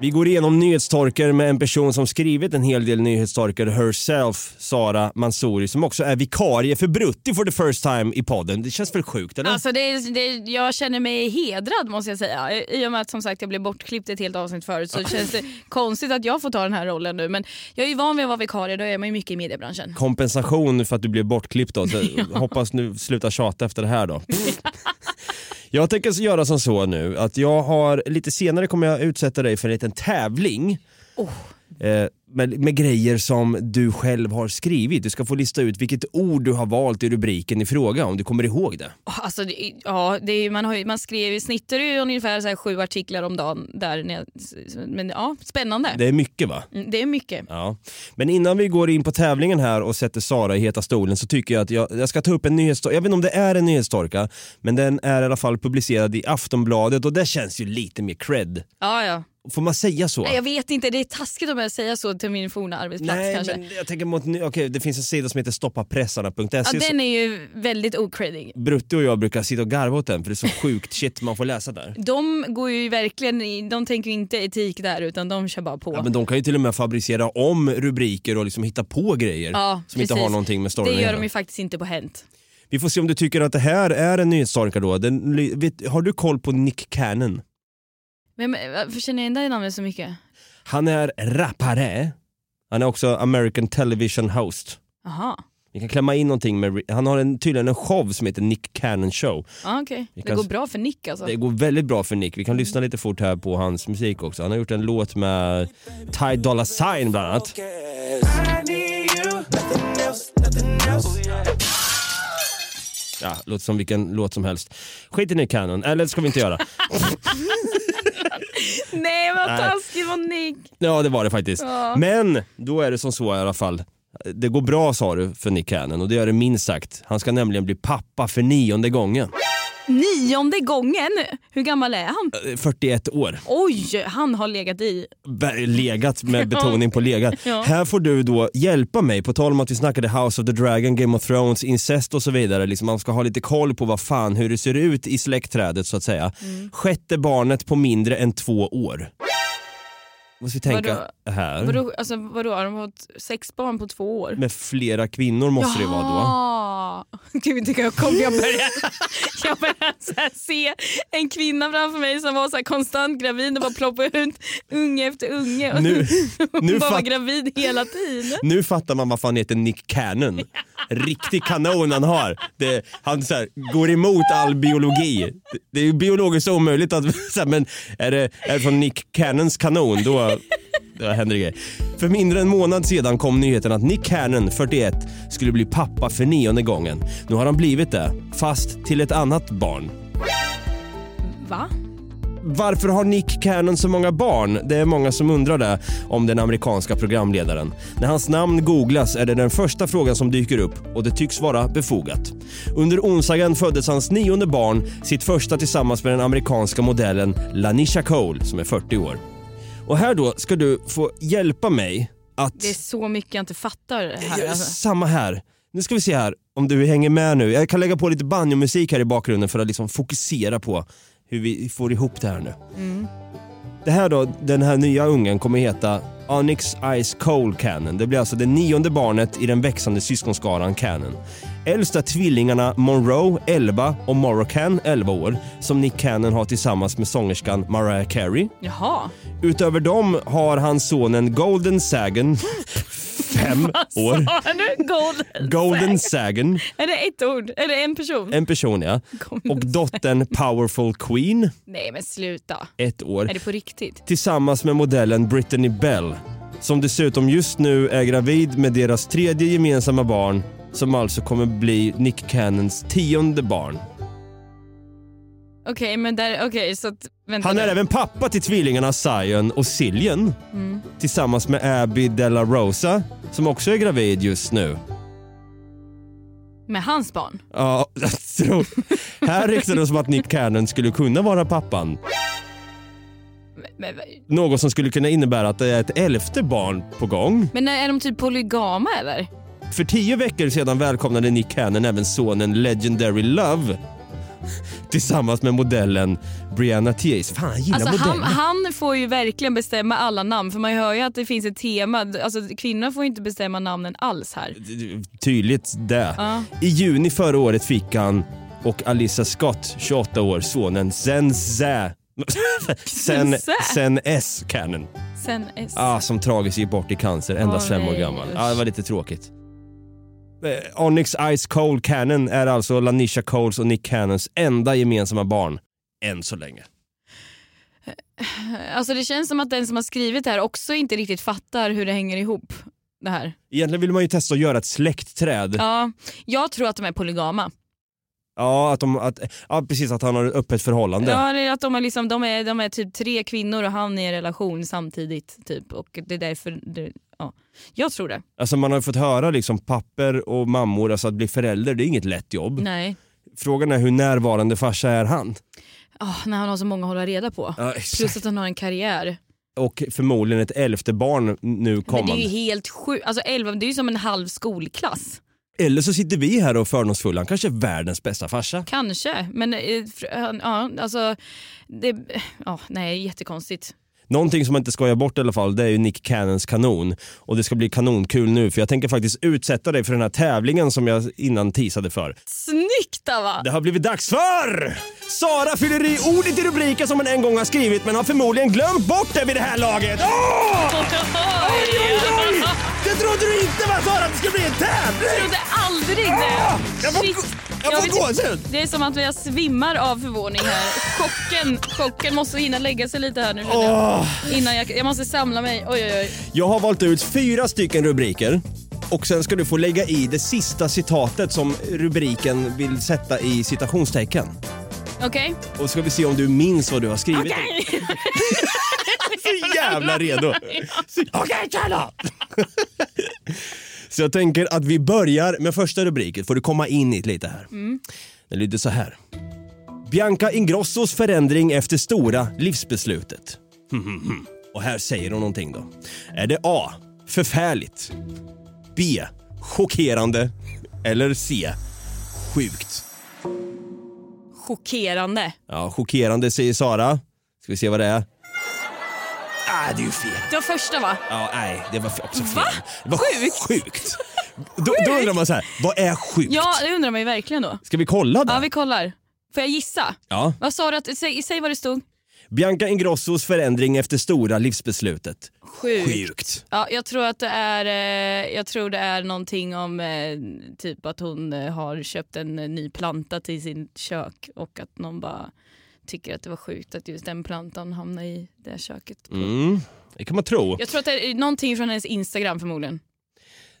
[SPEAKER 2] Vi går igenom nyhetstorker med en person som skrivit en hel del nyhetstorker herself, Sara Mansouri, som också är vikarie för Brutti for the first time i podden. Det känns väl sjukt eller?
[SPEAKER 1] Alltså det, är- det, är- jag känner mig hedrad måste jag säga. I i och med att som sagt jag blev bortklippt ett helt avsnitt förut så känns det konstigt att jag får ta den här rollen nu. Men jag är ju van vid att vara vikarie, då är man ju mycket i mediebranschen.
[SPEAKER 2] Kompensation för att du blev bortklippt då. Så Hoppas nu slutar tjata efter det här då. jag tänker så göra som så nu att jag har, lite senare kommer jag utsätta dig för en liten tävling. Eh, med, med grejer som du själv har skrivit. Du ska få lista ut vilket ord du har valt i rubriken i fråga om du kommer ihåg det.
[SPEAKER 1] Alltså, det, ja, det är, man, har, ju- man skrev i snitt är det ju ungefär så här sju artiklar om dagen. Där, när jag- men ja, spännande.
[SPEAKER 2] Det är mycket va?
[SPEAKER 1] Mm, det är mycket.
[SPEAKER 2] Ja. Men innan vi går in på tävlingen här och sätter Sara i heta stolen så tycker jag att jag, jag ska ta upp en nyhetstorka. Jag vet inte om det är en nyhetstorka, men den är i alla fall publicerad i Aftonbladet och det känns ju lite mer cred.
[SPEAKER 1] Ja, ja.
[SPEAKER 2] Får man säga så?
[SPEAKER 1] Nej, jag vet inte, det är taskigt om jag säger så till min forna arbetsplats
[SPEAKER 2] Nej,
[SPEAKER 1] kanske.
[SPEAKER 2] men jag tänker mot... ny- Okej, det finns en sida som heter stoppapressarna.se.
[SPEAKER 1] Ja,
[SPEAKER 2] så-
[SPEAKER 1] den är ju väldigt okreddig.
[SPEAKER 2] Brutte och jag brukar sitta och garva åt den för det är så sjukt shit man får läsa där.
[SPEAKER 1] De går ju verkligen, i- de tänker ju inte etik där utan de kör bara på.
[SPEAKER 2] Ja, men de kan ju till och med fabricera om rubriker och liksom hitta på grejer
[SPEAKER 1] Ja,
[SPEAKER 2] som inte
[SPEAKER 1] precis.
[SPEAKER 2] har någonting med storyn
[SPEAKER 1] Det
[SPEAKER 2] att
[SPEAKER 1] gör
[SPEAKER 2] göra.
[SPEAKER 1] de ju faktiskt inte på Hänt.
[SPEAKER 2] Vi får se om du tycker att det här är en nyhetstorka då. Den, ly- vet, har du koll på Nick Cannon?
[SPEAKER 1] Men, men varför känner jag igen det här namnet så mycket?
[SPEAKER 2] Han är rappare. Han är också American television host.
[SPEAKER 1] Aha.
[SPEAKER 2] Ni kan klämma in någonting med... Han har en, tydligen en show som heter Nick Cannon Show.
[SPEAKER 3] Ja, okej.
[SPEAKER 2] Vi
[SPEAKER 3] Det
[SPEAKER 2] kan-
[SPEAKER 3] går bra för Nick alltså.
[SPEAKER 2] Det går väldigt bra för Nick. Vi kan lyssna lite fort här på hans musik också. Han har gjort en låt med Ty Dolla Sign bland annat.
[SPEAKER 5] I need you, nothing else, nothing else.
[SPEAKER 2] Ja, låter som vilken låt som helst. Skit i Nick Cannon, eller det ska vi inte göra.
[SPEAKER 3] Nej vad
[SPEAKER 2] Nej.
[SPEAKER 3] taskigt mot Nick.
[SPEAKER 2] Ja, det var det faktiskt.
[SPEAKER 3] Ja.
[SPEAKER 2] Men då är det som så i alla fall. Det går bra sa du för Nick Cannon och det gör det minst sagt. Han ska nämligen bli pappa för nionde gången.
[SPEAKER 3] Nionde gången! Hur gammal är han?
[SPEAKER 2] Eh, 41 år.
[SPEAKER 3] Oj, han har legat i.
[SPEAKER 2] Be- Legat med betoning på legat.
[SPEAKER 3] Ja.
[SPEAKER 2] Här får du då hjälpa mig, på tal om att vi snackade House of the Dragon, Game of Thrones, incest och så vidare. Liksom man ska ha lite koll på vad fan, hur det ser ut i släktträdet så att säga.
[SPEAKER 3] Mm.
[SPEAKER 2] Sjätte barnet på mindre än två år. Måste vi tänka här.
[SPEAKER 3] Vadå, alltså, vadå, har de fått sex barn på två år?
[SPEAKER 2] Med flera kvinnor måste det vara då.
[SPEAKER 3] Jaha. Ah. Gud, det kan jag kom, jag börjar, jag börjar så här se en kvinna framför mig som var så här konstant gravid och bara ploppade ut unge efter unge. Och
[SPEAKER 2] Nu-
[SPEAKER 3] hon
[SPEAKER 2] nu
[SPEAKER 3] bara var
[SPEAKER 2] fatt-
[SPEAKER 3] gravid hela tiden.
[SPEAKER 2] Nu fattar man varför han heter Nick Cannon. Riktig kanon han har. Det, han så här, går emot all biologi. Det, det är ju biologiskt omöjligt att... Så här, men är det, är det från Nick Cannons kanon då, då händer det grejer. För mindre än en månad sedan kom nyheten att Nick Cannon, 41, skulle bli pappa för nionde gången. Nu har han blivit det, fast till ett annat barn.
[SPEAKER 3] Va?
[SPEAKER 2] Varför har Nick Cannon så många barn? Det är många som undrar det om den amerikanska programledaren. När hans namn googlas är det den första frågan som dyker upp och det tycks vara befogat. Under onsdagen föddes hans nionde barn, sitt första tillsammans med den amerikanska modellen Lanisha Cole som är 40 år. Och här då ska du få hjälpa mig att
[SPEAKER 3] Det är så mycket jag inte fattar här.
[SPEAKER 2] Ja,
[SPEAKER 3] Alltså.
[SPEAKER 2] Samma här. Nu ska vi se här om du hänger med nu. Jag kan lägga på lite banjomusik här i bakgrunden för att liksom fokusera på hur vi får ihop det här nu.
[SPEAKER 3] Mm.
[SPEAKER 2] Det här då, den här nya ungen kommer heta Onyx Ice Cold Cannon. Det blir alltså det nionde barnet i den växande syskonskaran Cannon. Äldst är tvillingarna Monroe, 11 och Morrocan, 11 år, som Nick Cannon har tillsammans med sångerskan Mariah Carey.
[SPEAKER 3] Jaha.
[SPEAKER 2] Utöver dem har han sonen Golden Sagan, 5 år.
[SPEAKER 3] Vad sa du? Golden.
[SPEAKER 2] Golden Sagan,
[SPEAKER 3] Är det ett ord? Är det en person?
[SPEAKER 2] en person ja. Och dottern Powerful Queen,
[SPEAKER 3] Nej men sluta.
[SPEAKER 2] ett år.
[SPEAKER 3] Är det på riktigt?
[SPEAKER 2] Tillsammans med modellen Brittany Bell. Som dessutom just nu är gravid med deras tredje gemensamma barn. Som alltså kommer bli Nick Cannons tionde barn.
[SPEAKER 3] Okej, men där, okej så att, vänta
[SPEAKER 2] Han
[SPEAKER 3] nu.
[SPEAKER 2] är även pappa till tvillingarna Sion och Cillian.
[SPEAKER 3] Mm.
[SPEAKER 2] Tillsammans med Abby Della Rosa. Som också är gravid just nu.
[SPEAKER 3] Med hans barn?
[SPEAKER 2] Ja, jag tror. Här ryktades det om att Nick Cannon skulle kunna vara pappan.
[SPEAKER 3] Men,
[SPEAKER 2] Något som skulle kunna innebära att det är ett elfte barn på gång.
[SPEAKER 3] men är de typ polygama eller?
[SPEAKER 2] För tio veckor sedan välkomnade Nick Cannon även sonen Legendary Love tillsammans med modellen Brianna Thies. Fan, han gillar
[SPEAKER 3] Alltså, han,
[SPEAKER 2] modeller.
[SPEAKER 3] han får ju verkligen bestämma alla namn för man hör ju att det finns ett tema. Alltså, kvinnor får ju inte bestämma namnen alls här.
[SPEAKER 2] Tydligt det.
[SPEAKER 3] Ja.
[SPEAKER 2] I juni förra året fick han och Alissa Scott, 28 år, sonen Zen Zä. Sen,
[SPEAKER 3] Zä?
[SPEAKER 2] sen S Cannon.
[SPEAKER 3] Sen S.
[SPEAKER 2] Ah, som tragiskt gick bort i cancer, endast
[SPEAKER 3] Åh,
[SPEAKER 2] fem år
[SPEAKER 3] nej,
[SPEAKER 2] gammal.
[SPEAKER 3] usch.
[SPEAKER 2] Ah, det var lite tråkigt. Eh, Onyx Ice Cold Cannon är alltså Lanisha Coles och Nick Cannons enda gemensamma barn, än så länge.
[SPEAKER 3] Alltså, det känns som att den som har skrivit det här också inte riktigt fattar hur det hänger ihop. Det här.
[SPEAKER 2] Egentligen vill man ju testa att göra ett släktträd. Ja,
[SPEAKER 3] Ja, jag tror att de är polygama.
[SPEAKER 2] att de, att, ja precis, att han har ett öppet förhållande.
[SPEAKER 3] Ja, det är att de är, liksom, de, är, de är typ tre kvinnor och han är i en relation samtidigt. Typ. Och det är därför... Det, ja. Jag tror det.
[SPEAKER 2] Alltså man har ju fått höra liksom papper och mammor, alltså att bli förälder det är inget lätt jobb.
[SPEAKER 3] Nej.
[SPEAKER 2] Frågan är hur närvarande farsa är han?
[SPEAKER 3] Oh, när han har så många att hålla reda på.
[SPEAKER 2] Ja, exakt.
[SPEAKER 3] Plus att han har en karriär.
[SPEAKER 2] Och förmodligen ett elfte barn nu
[SPEAKER 3] Men det
[SPEAKER 2] kommande.
[SPEAKER 3] är ju helt sjukt. Alltså 11, det är ju som en halv skolklass.
[SPEAKER 2] Eller så sitter vi här och är fördomsfulla, han kanske är världens bästa farsa.
[SPEAKER 3] Kanske, men eh, fr- han- ja, alltså... Det, ja, nej, jättekonstigt.
[SPEAKER 2] Någonting som man inte skojar bort i alla fall det är ju Nick Cannons kanon. Och det ska bli kanonkul nu för jag tänker faktiskt utsätta dig för den här tävlingen som jag innan teasade för.
[SPEAKER 3] Snyggt Ava!
[SPEAKER 2] Det har blivit dags för Sara fyller i ordet i rubriken som hon en gång har skrivit men har förmodligen glömt bort det vid det här laget. Åh! Oj, oj, oj! Det trodde du inte va Sara att det skulle bli en tävling!
[SPEAKER 3] Jag trodde det ringde.
[SPEAKER 4] Jag får-
[SPEAKER 3] Shit.
[SPEAKER 4] jag får
[SPEAKER 3] vet-
[SPEAKER 4] gåshud.
[SPEAKER 3] Det är som att jag svimmar av förvåning här. Chocken, chocken måste hinna lägga sig lite här nu. känner jag. Innan jag, jag måste samla mig. Oj, oj, oj.
[SPEAKER 2] Jag har valt ut fyra stycken rubriker och sen ska du få lägga i det sista citatet som rubriken vill sätta i citationstecken.
[SPEAKER 3] Okej.
[SPEAKER 2] Och ska vi se om du minns vad du har skrivit.
[SPEAKER 3] Okej!
[SPEAKER 2] Så jävla redo. Okej, tjena! Så jag tänker att vi börjar med första rubriken. Får du komma in i det lite här.
[SPEAKER 3] Mm.
[SPEAKER 2] Den lyder så här. Bianca Ingrossos förändring efter stora livsbeslutet. Hmm, hmm, hmm. Och här säger hon någonting då. Är det A. Förfärligt. B. Chockerande. Eller C. Sjukt.
[SPEAKER 3] Chockerande.
[SPEAKER 2] Ja, chockerande säger Sara. Ska vi se vad det är? Ah, det är ju fel.
[SPEAKER 3] Det var första va?
[SPEAKER 2] Ja, nej, det var också fel.
[SPEAKER 3] Va?
[SPEAKER 2] Det var sjukt. sjukt. Då, då undrar man så här, vad är sjukt?
[SPEAKER 3] Ja, det undrar man ju verkligen då.
[SPEAKER 2] Ska vi kolla det?
[SPEAKER 3] Ja, vi kollar. Får jag gissa?
[SPEAKER 2] Ja.
[SPEAKER 3] Vad sa du? Att, säg, säg vad det stod.
[SPEAKER 2] Bianca Ingrossos förändring efter stora livsbeslutet.
[SPEAKER 3] Sjukt.
[SPEAKER 2] Sjukt.
[SPEAKER 3] Ja, jag tror att det är, eh, jag tror det är någonting om eh, typ att hon eh, har köpt en eh, ny planta till sin kök och att någon bara tycker att det var sjukt att just den plantan hamnade i det här köket.
[SPEAKER 2] Mm, det kan man tro.
[SPEAKER 3] Jag tror att det är eh, någonting från hennes Instagram förmodligen.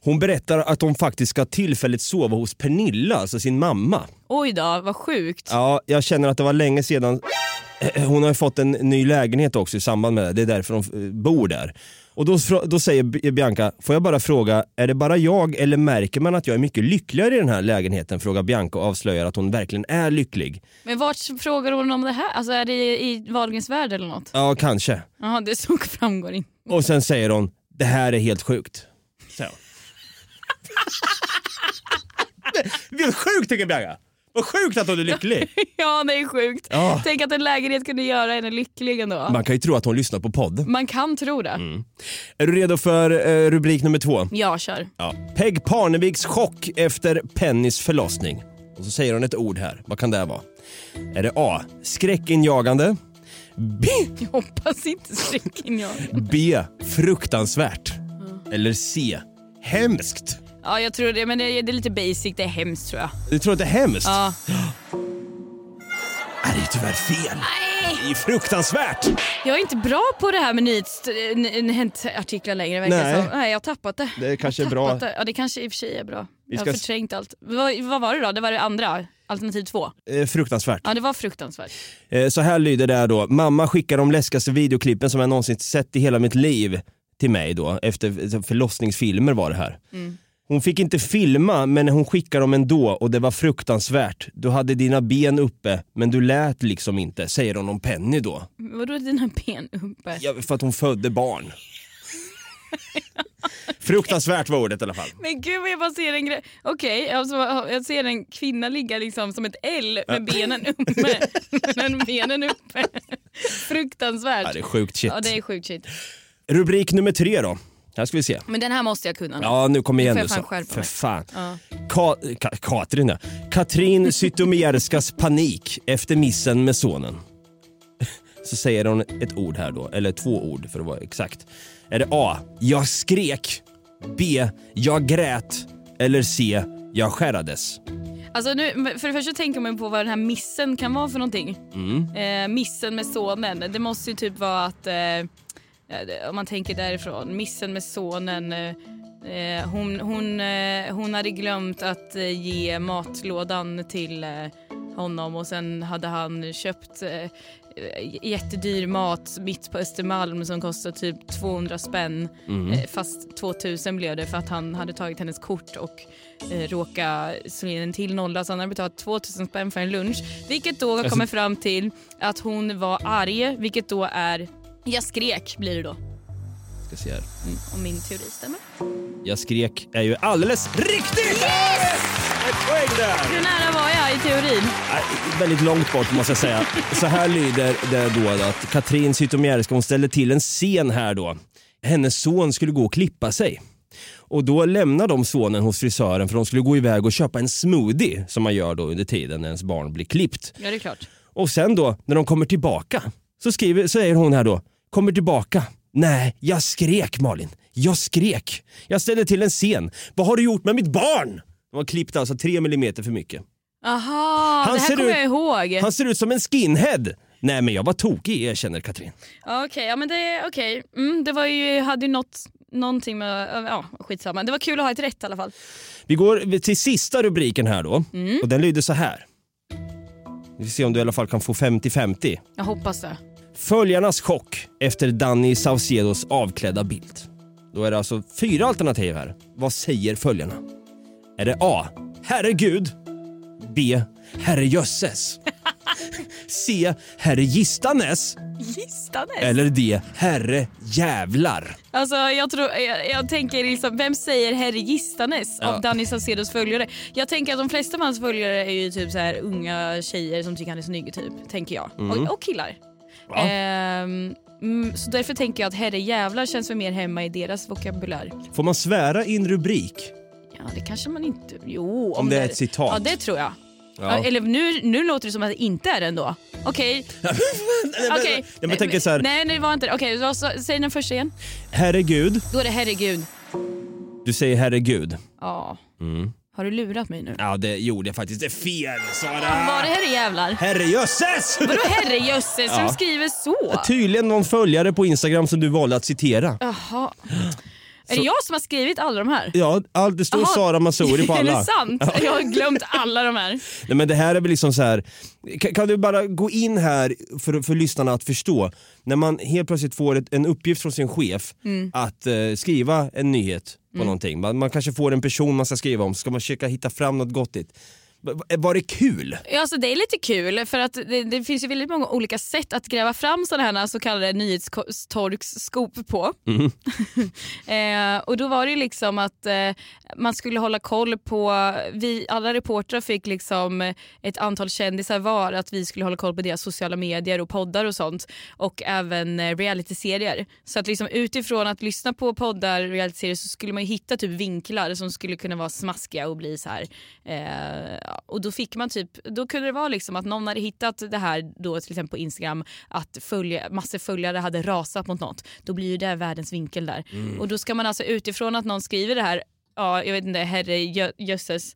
[SPEAKER 2] Hon berättar att hon faktiskt ska tillfälligt sova hos Pernilla, alltså sin mamma.
[SPEAKER 3] Oj då, vad sjukt.
[SPEAKER 2] Ja, jag känner att det var länge sedan. Eh, Hon har ju fått en ny lägenhet också i samband med det. Det är därför hon eh, bor där. Och då, fr- då säger B- Bianca, får jag bara fråga, är det bara jag eller märker man att jag är mycket lyckligare i den här lägenheten? Frågar Bianca och avslöjar att hon verkligen är lycklig.
[SPEAKER 3] Men vart frågar hon om det här? Alltså är det i, i Wahlgrens värld eller något?
[SPEAKER 2] Ja, kanske.
[SPEAKER 3] Jaha, det såg framgår inte.
[SPEAKER 2] Och sen säger hon, det här är helt sjukt. Så. Det är sjukt tycker Bianca. Vad sjukt att hon är lycklig.
[SPEAKER 3] ja, det är sjukt.
[SPEAKER 2] Ja.
[SPEAKER 3] Tänk att en lägenhet kunde göra henne lycklig ändå.
[SPEAKER 2] Man Mm. kan ju tro att hon lyssnar på podd.
[SPEAKER 3] Man kan tro det.
[SPEAKER 2] Är du redo för eh, rubrik nummer två?
[SPEAKER 3] Jag kör.
[SPEAKER 2] Ja. Peg Parneviks chock efter Pennys förlossning. Och så säger hon ett ord här. Vad kan det vara? Är det A. Skräckinjagande? B.
[SPEAKER 3] Jag hoppas inte strecken jag.
[SPEAKER 2] B. Fruktansvärt? Eller C. Hemskt?
[SPEAKER 3] Ja, jag tror det. Men det är, det är lite basic. Det är hemskt tror jag.
[SPEAKER 2] Du tror att det är hemskt?
[SPEAKER 3] Ja.
[SPEAKER 2] Nej, det är tyvärr fel.
[SPEAKER 3] Nej.
[SPEAKER 2] Det är fruktansvärt!
[SPEAKER 3] Jag är inte bra på det här med nyhets- n- n- hänt artiklar längre. verkar
[SPEAKER 2] Nej.
[SPEAKER 3] som. eh, Nej, jag har tappat det.
[SPEAKER 2] Äh. Det kanske är
[SPEAKER 3] Jag har
[SPEAKER 2] bra.
[SPEAKER 3] tappat Det. Ja, det kanske i och för sig är bra.
[SPEAKER 2] Vi
[SPEAKER 3] Jag
[SPEAKER 2] ska-
[SPEAKER 3] har förträngt allt. Vad, vad var det då? Det var det andra, alternativ två.
[SPEAKER 2] Eh, fruktansvärt.
[SPEAKER 3] Ja, det var fruktansvärt.
[SPEAKER 2] Eh, Så här lyder det här då. Mamma skickar de läskigaste videoklippen som jag någonsin sett i hela mitt liv till mig då. Efter förlossningsfilmer var det här.
[SPEAKER 3] Mm.
[SPEAKER 2] Hon fick inte filma men hon skickade dem ändå och det var fruktansvärt. Du hade dina ben uppe men du lät liksom inte, säger hon om Penny då.
[SPEAKER 3] Mm. Vadå dina ben uppe?
[SPEAKER 2] Ja, för att hon födde barn. fruktansvärt var ordet i alla fall.
[SPEAKER 3] Men gud vad jag bara ser en grej. Okej, alltså, jag ser en kvinna ligga liksom som ett L med
[SPEAKER 2] Ja.
[SPEAKER 3] benen uppe. Men benen uppe. Fruktansvärt.
[SPEAKER 2] Ja, det är sjukt shit.
[SPEAKER 3] Ja, det är sjukt shit.
[SPEAKER 2] Rubrik nummer tre då. Här ska vi se.
[SPEAKER 3] Men den här måste jag kunna. nu.
[SPEAKER 2] Ja, nu kommer igen
[SPEAKER 3] får
[SPEAKER 2] nu.
[SPEAKER 3] jag fan
[SPEAKER 2] så-
[SPEAKER 3] skärpa
[SPEAKER 2] För
[SPEAKER 3] mig.
[SPEAKER 2] fan.
[SPEAKER 3] Ja.
[SPEAKER 2] Ka- Ka- Katrin, ja. Katrin Zytomierskas panik efter missen med sonen. Så säger hon ett ord här då, eller två ord för att vara exakt. Är det A. Jag skrek. B. Jag grät. Eller C. Jag skärades.
[SPEAKER 3] Alltså nu, för det första tänker man på vad den här missen kan vara för någonting.
[SPEAKER 2] Mm.
[SPEAKER 3] Eh, missen med sonen. Det måste ju typ vara att, eh, eh, om man tänker därifrån, missen med sonen. eh, Eh, hon, hon, eh, hon hade glömt att eh, ge matlådan till eh, honom och sen hade han köpt eh, eh, jättedyr mat mitt på Östermalm som kostar typ 200 spänn.
[SPEAKER 12] Mm.
[SPEAKER 3] Eh, fast 2000 blev det för att han hade tagit hennes kort och eh, råkat slå in en till nolla så han hade betalat 2000 spänn för en lunch. Vilket då
[SPEAKER 12] Alltså-
[SPEAKER 3] kommer fram till att hon var arg, vilket då är jag skrek blir det då,
[SPEAKER 2] Ska se här.
[SPEAKER 3] om min teori stämmer.
[SPEAKER 2] Jag skrek är ju alldeles riktigt! Ett poäng där!
[SPEAKER 3] Hur nära var jag i teorin?
[SPEAKER 2] Nej, Äh, Väldigt långt bort måste jag säga. Så här lyder det då att Katrin Zytomierska hon ställer till en scen här då. Hennes son skulle gå och klippa sig. Och då lämnar de sonen hos frisören för de skulle gå iväg och köpa en smoothie som man gör då under tiden när ens barn blir klippt.
[SPEAKER 3] Ja det är klart.
[SPEAKER 2] Och sen då när de kommer tillbaka så skriver, säger hon här då, kommer tillbaka. Nej, jag skrek Malin. Jag skrek. Jag ställde till en scen. Vad har du gjort med mitt barn? De har klippt alltså 3 millimeter för mycket.
[SPEAKER 1] Aha,
[SPEAKER 2] Han
[SPEAKER 1] det här
[SPEAKER 2] ser
[SPEAKER 1] kommer
[SPEAKER 2] ut-
[SPEAKER 1] jag ihåg.
[SPEAKER 2] Han ser ut som en skinhead! Nej men jag var tokig erkänner Katrin.
[SPEAKER 1] Ja, Okej, ja, men det, okay. mm, det var ju, hade ju något, någonting med... Ja, skitsamma. Det var kul att ha ett rätt i alla fall.
[SPEAKER 2] Vi går till sista rubriken här då.
[SPEAKER 1] Mm.
[SPEAKER 2] Och den lyder så här. Vi får se om du i alla fall kan få 50-50.
[SPEAKER 1] Jag hoppas det.
[SPEAKER 2] Följarnas chock efter Danny Saucedos avklädda bild. Då är det alltså fyra alternativ här. Vad säger följarna? Är det A. Herregud. B. Herrejösses. C. Herregistanes.
[SPEAKER 1] Gistanes?
[SPEAKER 2] Eller D. Herre jävlar.
[SPEAKER 1] Alltså, jag, tror, jag, jag tänker liksom, vem säger herre Gistanes
[SPEAKER 2] Ja.
[SPEAKER 1] av Danny Saucedos följare? Jag tänker att de flesta av hans följare är ju typ så här unga tjejer som tycker han är snygg typ, tänker jag.
[SPEAKER 3] Mm.
[SPEAKER 1] Och, och killar.
[SPEAKER 3] Ja.
[SPEAKER 1] Ehm, mm, så därför tänker jag att herre jävlar känns väl mer hemma i deras vokabulär.
[SPEAKER 2] Får man svära i en rubrik?
[SPEAKER 1] Ja, det kanske man inte... Jo,
[SPEAKER 2] Om det är ett citat.
[SPEAKER 1] Ja, det tror jag.
[SPEAKER 2] Ja.
[SPEAKER 1] Eller nu, nu låter det som att det inte är det ändå. Okej.
[SPEAKER 2] men-
[SPEAKER 1] Okej.
[SPEAKER 2] men jag tänker så här-
[SPEAKER 1] Nej, det var inte det. Okej, vad sa- säg den första igen.
[SPEAKER 2] Herregud.
[SPEAKER 1] Då är det herregud.
[SPEAKER 2] Du säger herregud.
[SPEAKER 1] Ja.
[SPEAKER 2] Mm.
[SPEAKER 1] Har du lurat mig nu?
[SPEAKER 2] Ja, det gjorde jag faktiskt. Det är fel, Sara!
[SPEAKER 1] Var det herre jävlar?
[SPEAKER 2] Herrejösses!
[SPEAKER 1] Vadå herrejösses?
[SPEAKER 2] Ja.
[SPEAKER 1] Som skriver så?
[SPEAKER 2] Tydligen någon följare på Instagram som du valde att citera.
[SPEAKER 1] Jaha.
[SPEAKER 2] Så-
[SPEAKER 1] Är det jag som har skrivit alla de här?
[SPEAKER 2] Ja, all, det står
[SPEAKER 1] Jaha.
[SPEAKER 2] Sara Masouri på alla.
[SPEAKER 1] Är det sant?
[SPEAKER 2] Ja.
[SPEAKER 1] Jag har glömt alla de här.
[SPEAKER 2] Nej, men det här är väl liksom så här. Kan, kan du bara gå in här för, för lyssnarna att förstå? När man helt plötsligt får ett, en uppgift från sin chef
[SPEAKER 13] Mm.
[SPEAKER 2] att eh, skriva en nyhet på
[SPEAKER 13] Mm.
[SPEAKER 2] någonting. Man, man kanske får en person man ska skriva om, ska man försöka hitta fram något gottigt. Va- va- Var det kul?
[SPEAKER 1] Ja, Alltså, det är lite kul för att det, det finns ju väldigt många olika sätt att gräva fram sådana här så kallade nyhetstorksscoop på.
[SPEAKER 2] Mm.
[SPEAKER 1] Eh, och då var det ju liksom att eh, man skulle hålla koll på, vi, alla reportrar fick liksom eh, ett antal kändisar var att vi skulle hålla koll på deras sociala medier och poddar och sånt och även eh, realityserier. Så att liksom utifrån att lyssna på poddar och realityserier så skulle man ju hitta typ vinklar som skulle kunna vara smaskiga och bli så här. Eh, ja, och då fick man typ, då kunde det vara liksom att någon hade hittat det här då till exempel på Instagram att följa, massor följare hade rasat mot något. Då blir ju det världens vinkel där.
[SPEAKER 3] Mm.
[SPEAKER 1] Och då ska man alltså utifrån att någon skriver det här, ja jag vet inte, herre jö- jösses,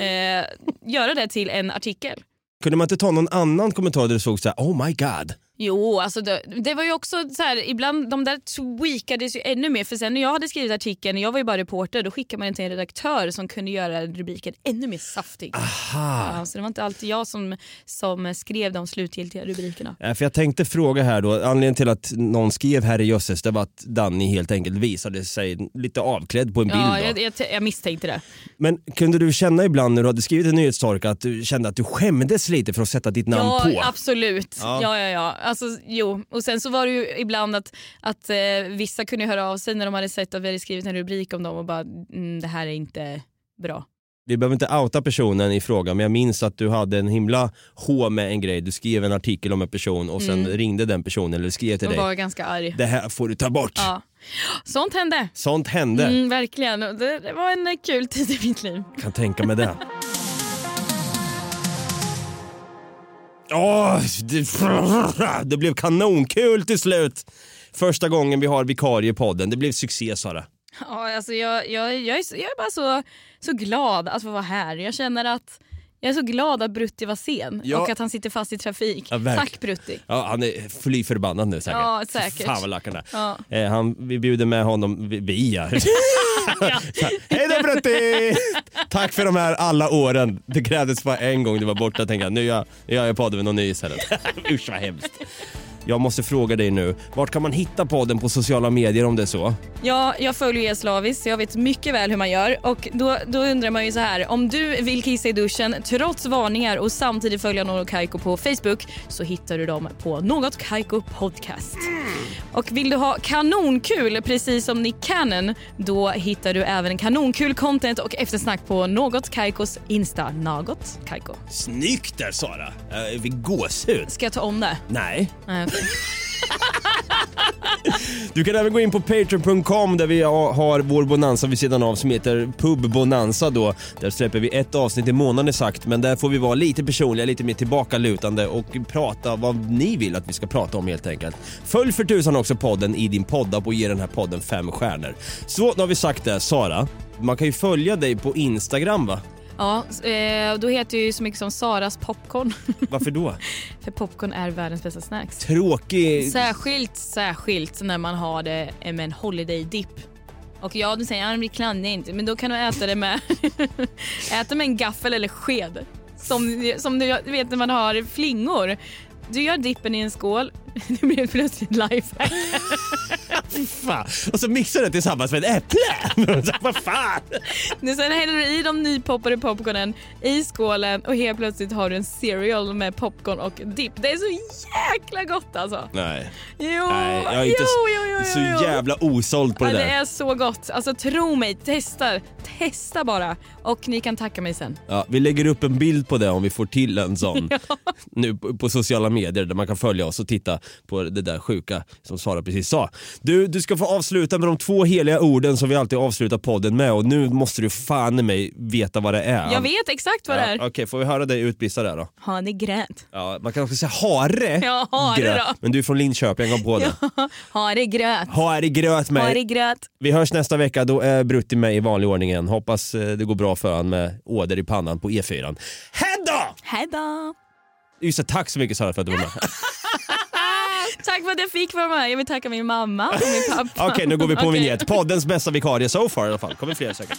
[SPEAKER 1] eh, göra det till en artikel.
[SPEAKER 2] Kunde man inte ta någon annan kommentar där du såg så här, oh my god.
[SPEAKER 1] Jo, alltså det, det var ju också så här, ibland de där tweakades ju ännu mer för sen när jag hade skrivit artikeln, jag var ju bara reporter, då skickade man den till en redaktör som kunde göra rubriken ännu mer saftig.
[SPEAKER 2] Ah. Aha.
[SPEAKER 1] Ja, så det var inte alltid jag som, som skrev de slutgiltiga rubrikerna.
[SPEAKER 2] Ja, Eh, För jag tänkte fråga här då, anledningen till att någon skrev herrejösses det var att Danny helt enkelt visade sig lite avklädd på en bild.
[SPEAKER 1] Ja,
[SPEAKER 2] då.
[SPEAKER 1] jag, jag, jag misstänkte det.
[SPEAKER 2] Men kunde du känna ibland när du hade skrivit en nyhetstorka att du kände att du skämdes lite för att sätta ditt namn
[SPEAKER 1] ja,
[SPEAKER 2] på?
[SPEAKER 1] absolut.
[SPEAKER 2] Ja.
[SPEAKER 1] Ja. Ja, ja, Alltså, jo. Och sen så var det ju ibland att, att eh, vissa kunde höra av sig när de hade sett att vi hade skrivit en rubrik om dem och bara mm, det här är inte bra.
[SPEAKER 2] Vi behöver inte outa personen i fråga men jag minns att du hade en himla H med en grej. Du skrev en artikel om en person och sen
[SPEAKER 1] Mm.
[SPEAKER 2] ringde den personen eller skrev till
[SPEAKER 1] De
[SPEAKER 2] dig.
[SPEAKER 1] var ganska arg.
[SPEAKER 2] Det här får du ta bort.
[SPEAKER 1] Ja. Sånt hände.
[SPEAKER 2] Sånt hände.
[SPEAKER 1] Mm, verkligen. Och Det, det var en eh, kul tid i mitt liv.
[SPEAKER 2] Kan tänka mig det. Åh, det, det blev kanonkul till slut. Första gången vi har vikarie i podden. Det blev succé Sara.
[SPEAKER 1] Ja, alltså jag, jag, jag, är, så- jag är bara så, så glad att få vara här. Jag känner att jag är så glad att Brutti var sen
[SPEAKER 2] Ja.
[SPEAKER 1] och att han sitter fast i trafik.
[SPEAKER 2] Ja, verkligen.
[SPEAKER 1] Tack Brutti.
[SPEAKER 2] Ja, han är fly förbannad nu säkert.
[SPEAKER 1] Ja, säkert.
[SPEAKER 2] Fan vad lack han är.
[SPEAKER 1] Ja.
[SPEAKER 2] Eh, han, vi bjuder med honom, vi, vi ja. Hej då Brutti! Tack för de här alla åren. Det krävdes bara en gång du var borta tänkte jag, nu gör nu gör jag podden med någon ny istället. Usch vad hemskt. Jag måste fråga dig nu, vart kan man hitta podden på sociala medier om det är så?
[SPEAKER 1] Ja, jag följer er slaviskt så jag vet mycket väl hur man gör. Och då, då undrar man ju så här, om du vill kissa i duschen trots varningar och samtidigt följa Något Kaiko på Facebook så hittar du dem på Något Kaiko Podcast. Och vill du ha kanonkul precis som Nick Cannon då hittar du även kanonkul content och eftersnack på Något Kaikos Insta, Något Kaiko.
[SPEAKER 2] Snyggt där Sara! Eh, vi gåshud.
[SPEAKER 1] Ska jag ta om det?
[SPEAKER 2] Nej.
[SPEAKER 1] Nej, okej.
[SPEAKER 2] Du kan även gå in på patreon.com där vi har vår bonanza vid sidan av som heter Pub Bonanza då. Där släpper vi ett avsnitt i månaden exakt men där får vi vara lite personliga, lite mer tillbakalutande och prata vad ni vill att vi ska prata om helt enkelt. Följ för tusan också podden i din poddapp och ge den här podden fem stjärnor. Så, nu har vi sagt det. Sara, man kan ju följa dig på Instagram va?
[SPEAKER 1] Ja, s- eh, då heter jag ju så mycket som Saras popcorn.
[SPEAKER 2] Varför då?
[SPEAKER 1] För popcorn är världens bästa snacks.
[SPEAKER 2] Tråkig...
[SPEAKER 1] Särskilt, särskilt när man har det med en holiday dip. Och ja, du säger att den blir klandig inte, men då kan du äta det med, äta med en gaffel eller sked. Som, som du du vet när man har flingor. Du gör dippen i en skål, det blir plötsligt lifehack.
[SPEAKER 2] Fan. Och så mixar du det tillsammans med ett äpple! Vad fan!
[SPEAKER 1] Nu Sen häller du i de nypoppade popcornen i skålen och helt plötsligt har du en cereal med popcorn och dipp. Det är så jäkla gott alltså.
[SPEAKER 2] Nej.
[SPEAKER 1] Jo,
[SPEAKER 2] Nej, jag är inte
[SPEAKER 1] jo,
[SPEAKER 2] s-
[SPEAKER 1] jo, jo, jo,
[SPEAKER 2] så
[SPEAKER 1] jo.
[SPEAKER 2] jävla osåld på det
[SPEAKER 1] ja,
[SPEAKER 2] där.
[SPEAKER 1] Det är så gott. Alltså tro mig, testa. Testa bara. Och ni kan tacka mig sen.
[SPEAKER 2] Ja, vi lägger upp en bild på det om vi får till en sån nu på, på sociala medier där man kan följa oss och titta på det där sjuka som Sara precis sa. Du, du ska få avsluta med de två heliga orden som vi alltid avslutar podden med och nu måste du fan i mig veta vad det är.
[SPEAKER 1] Jag vet exakt vad det är.
[SPEAKER 2] Ja, Okej, får vi höra dig utbrista där då?
[SPEAKER 1] Har ni grönt?
[SPEAKER 2] Ja, man kanske säga hare.
[SPEAKER 1] Ja, hare
[SPEAKER 2] Gröt.
[SPEAKER 1] då.
[SPEAKER 2] Men du är från Linköping, jag kom på det.
[SPEAKER 1] Har ni gröt?
[SPEAKER 2] Hare gröt med.
[SPEAKER 1] Har ni gröt?
[SPEAKER 2] Vi hörs nästa vecka, då är Brutti med i vanlig ordning igen. Hoppas eh, det går bra för han med åder i pannan på E4. Hej då!
[SPEAKER 1] Hej då!
[SPEAKER 2] Just det, tack så mycket Sara för att du var med.
[SPEAKER 1] Tack för att jag fick vara med. Jag vill tacka min mamma och min pappa.
[SPEAKER 2] Okej, nu går vi på en
[SPEAKER 1] Okej.
[SPEAKER 2] vignett. Poddens bästa vikarie so far i alla fall. kommer fler säkert.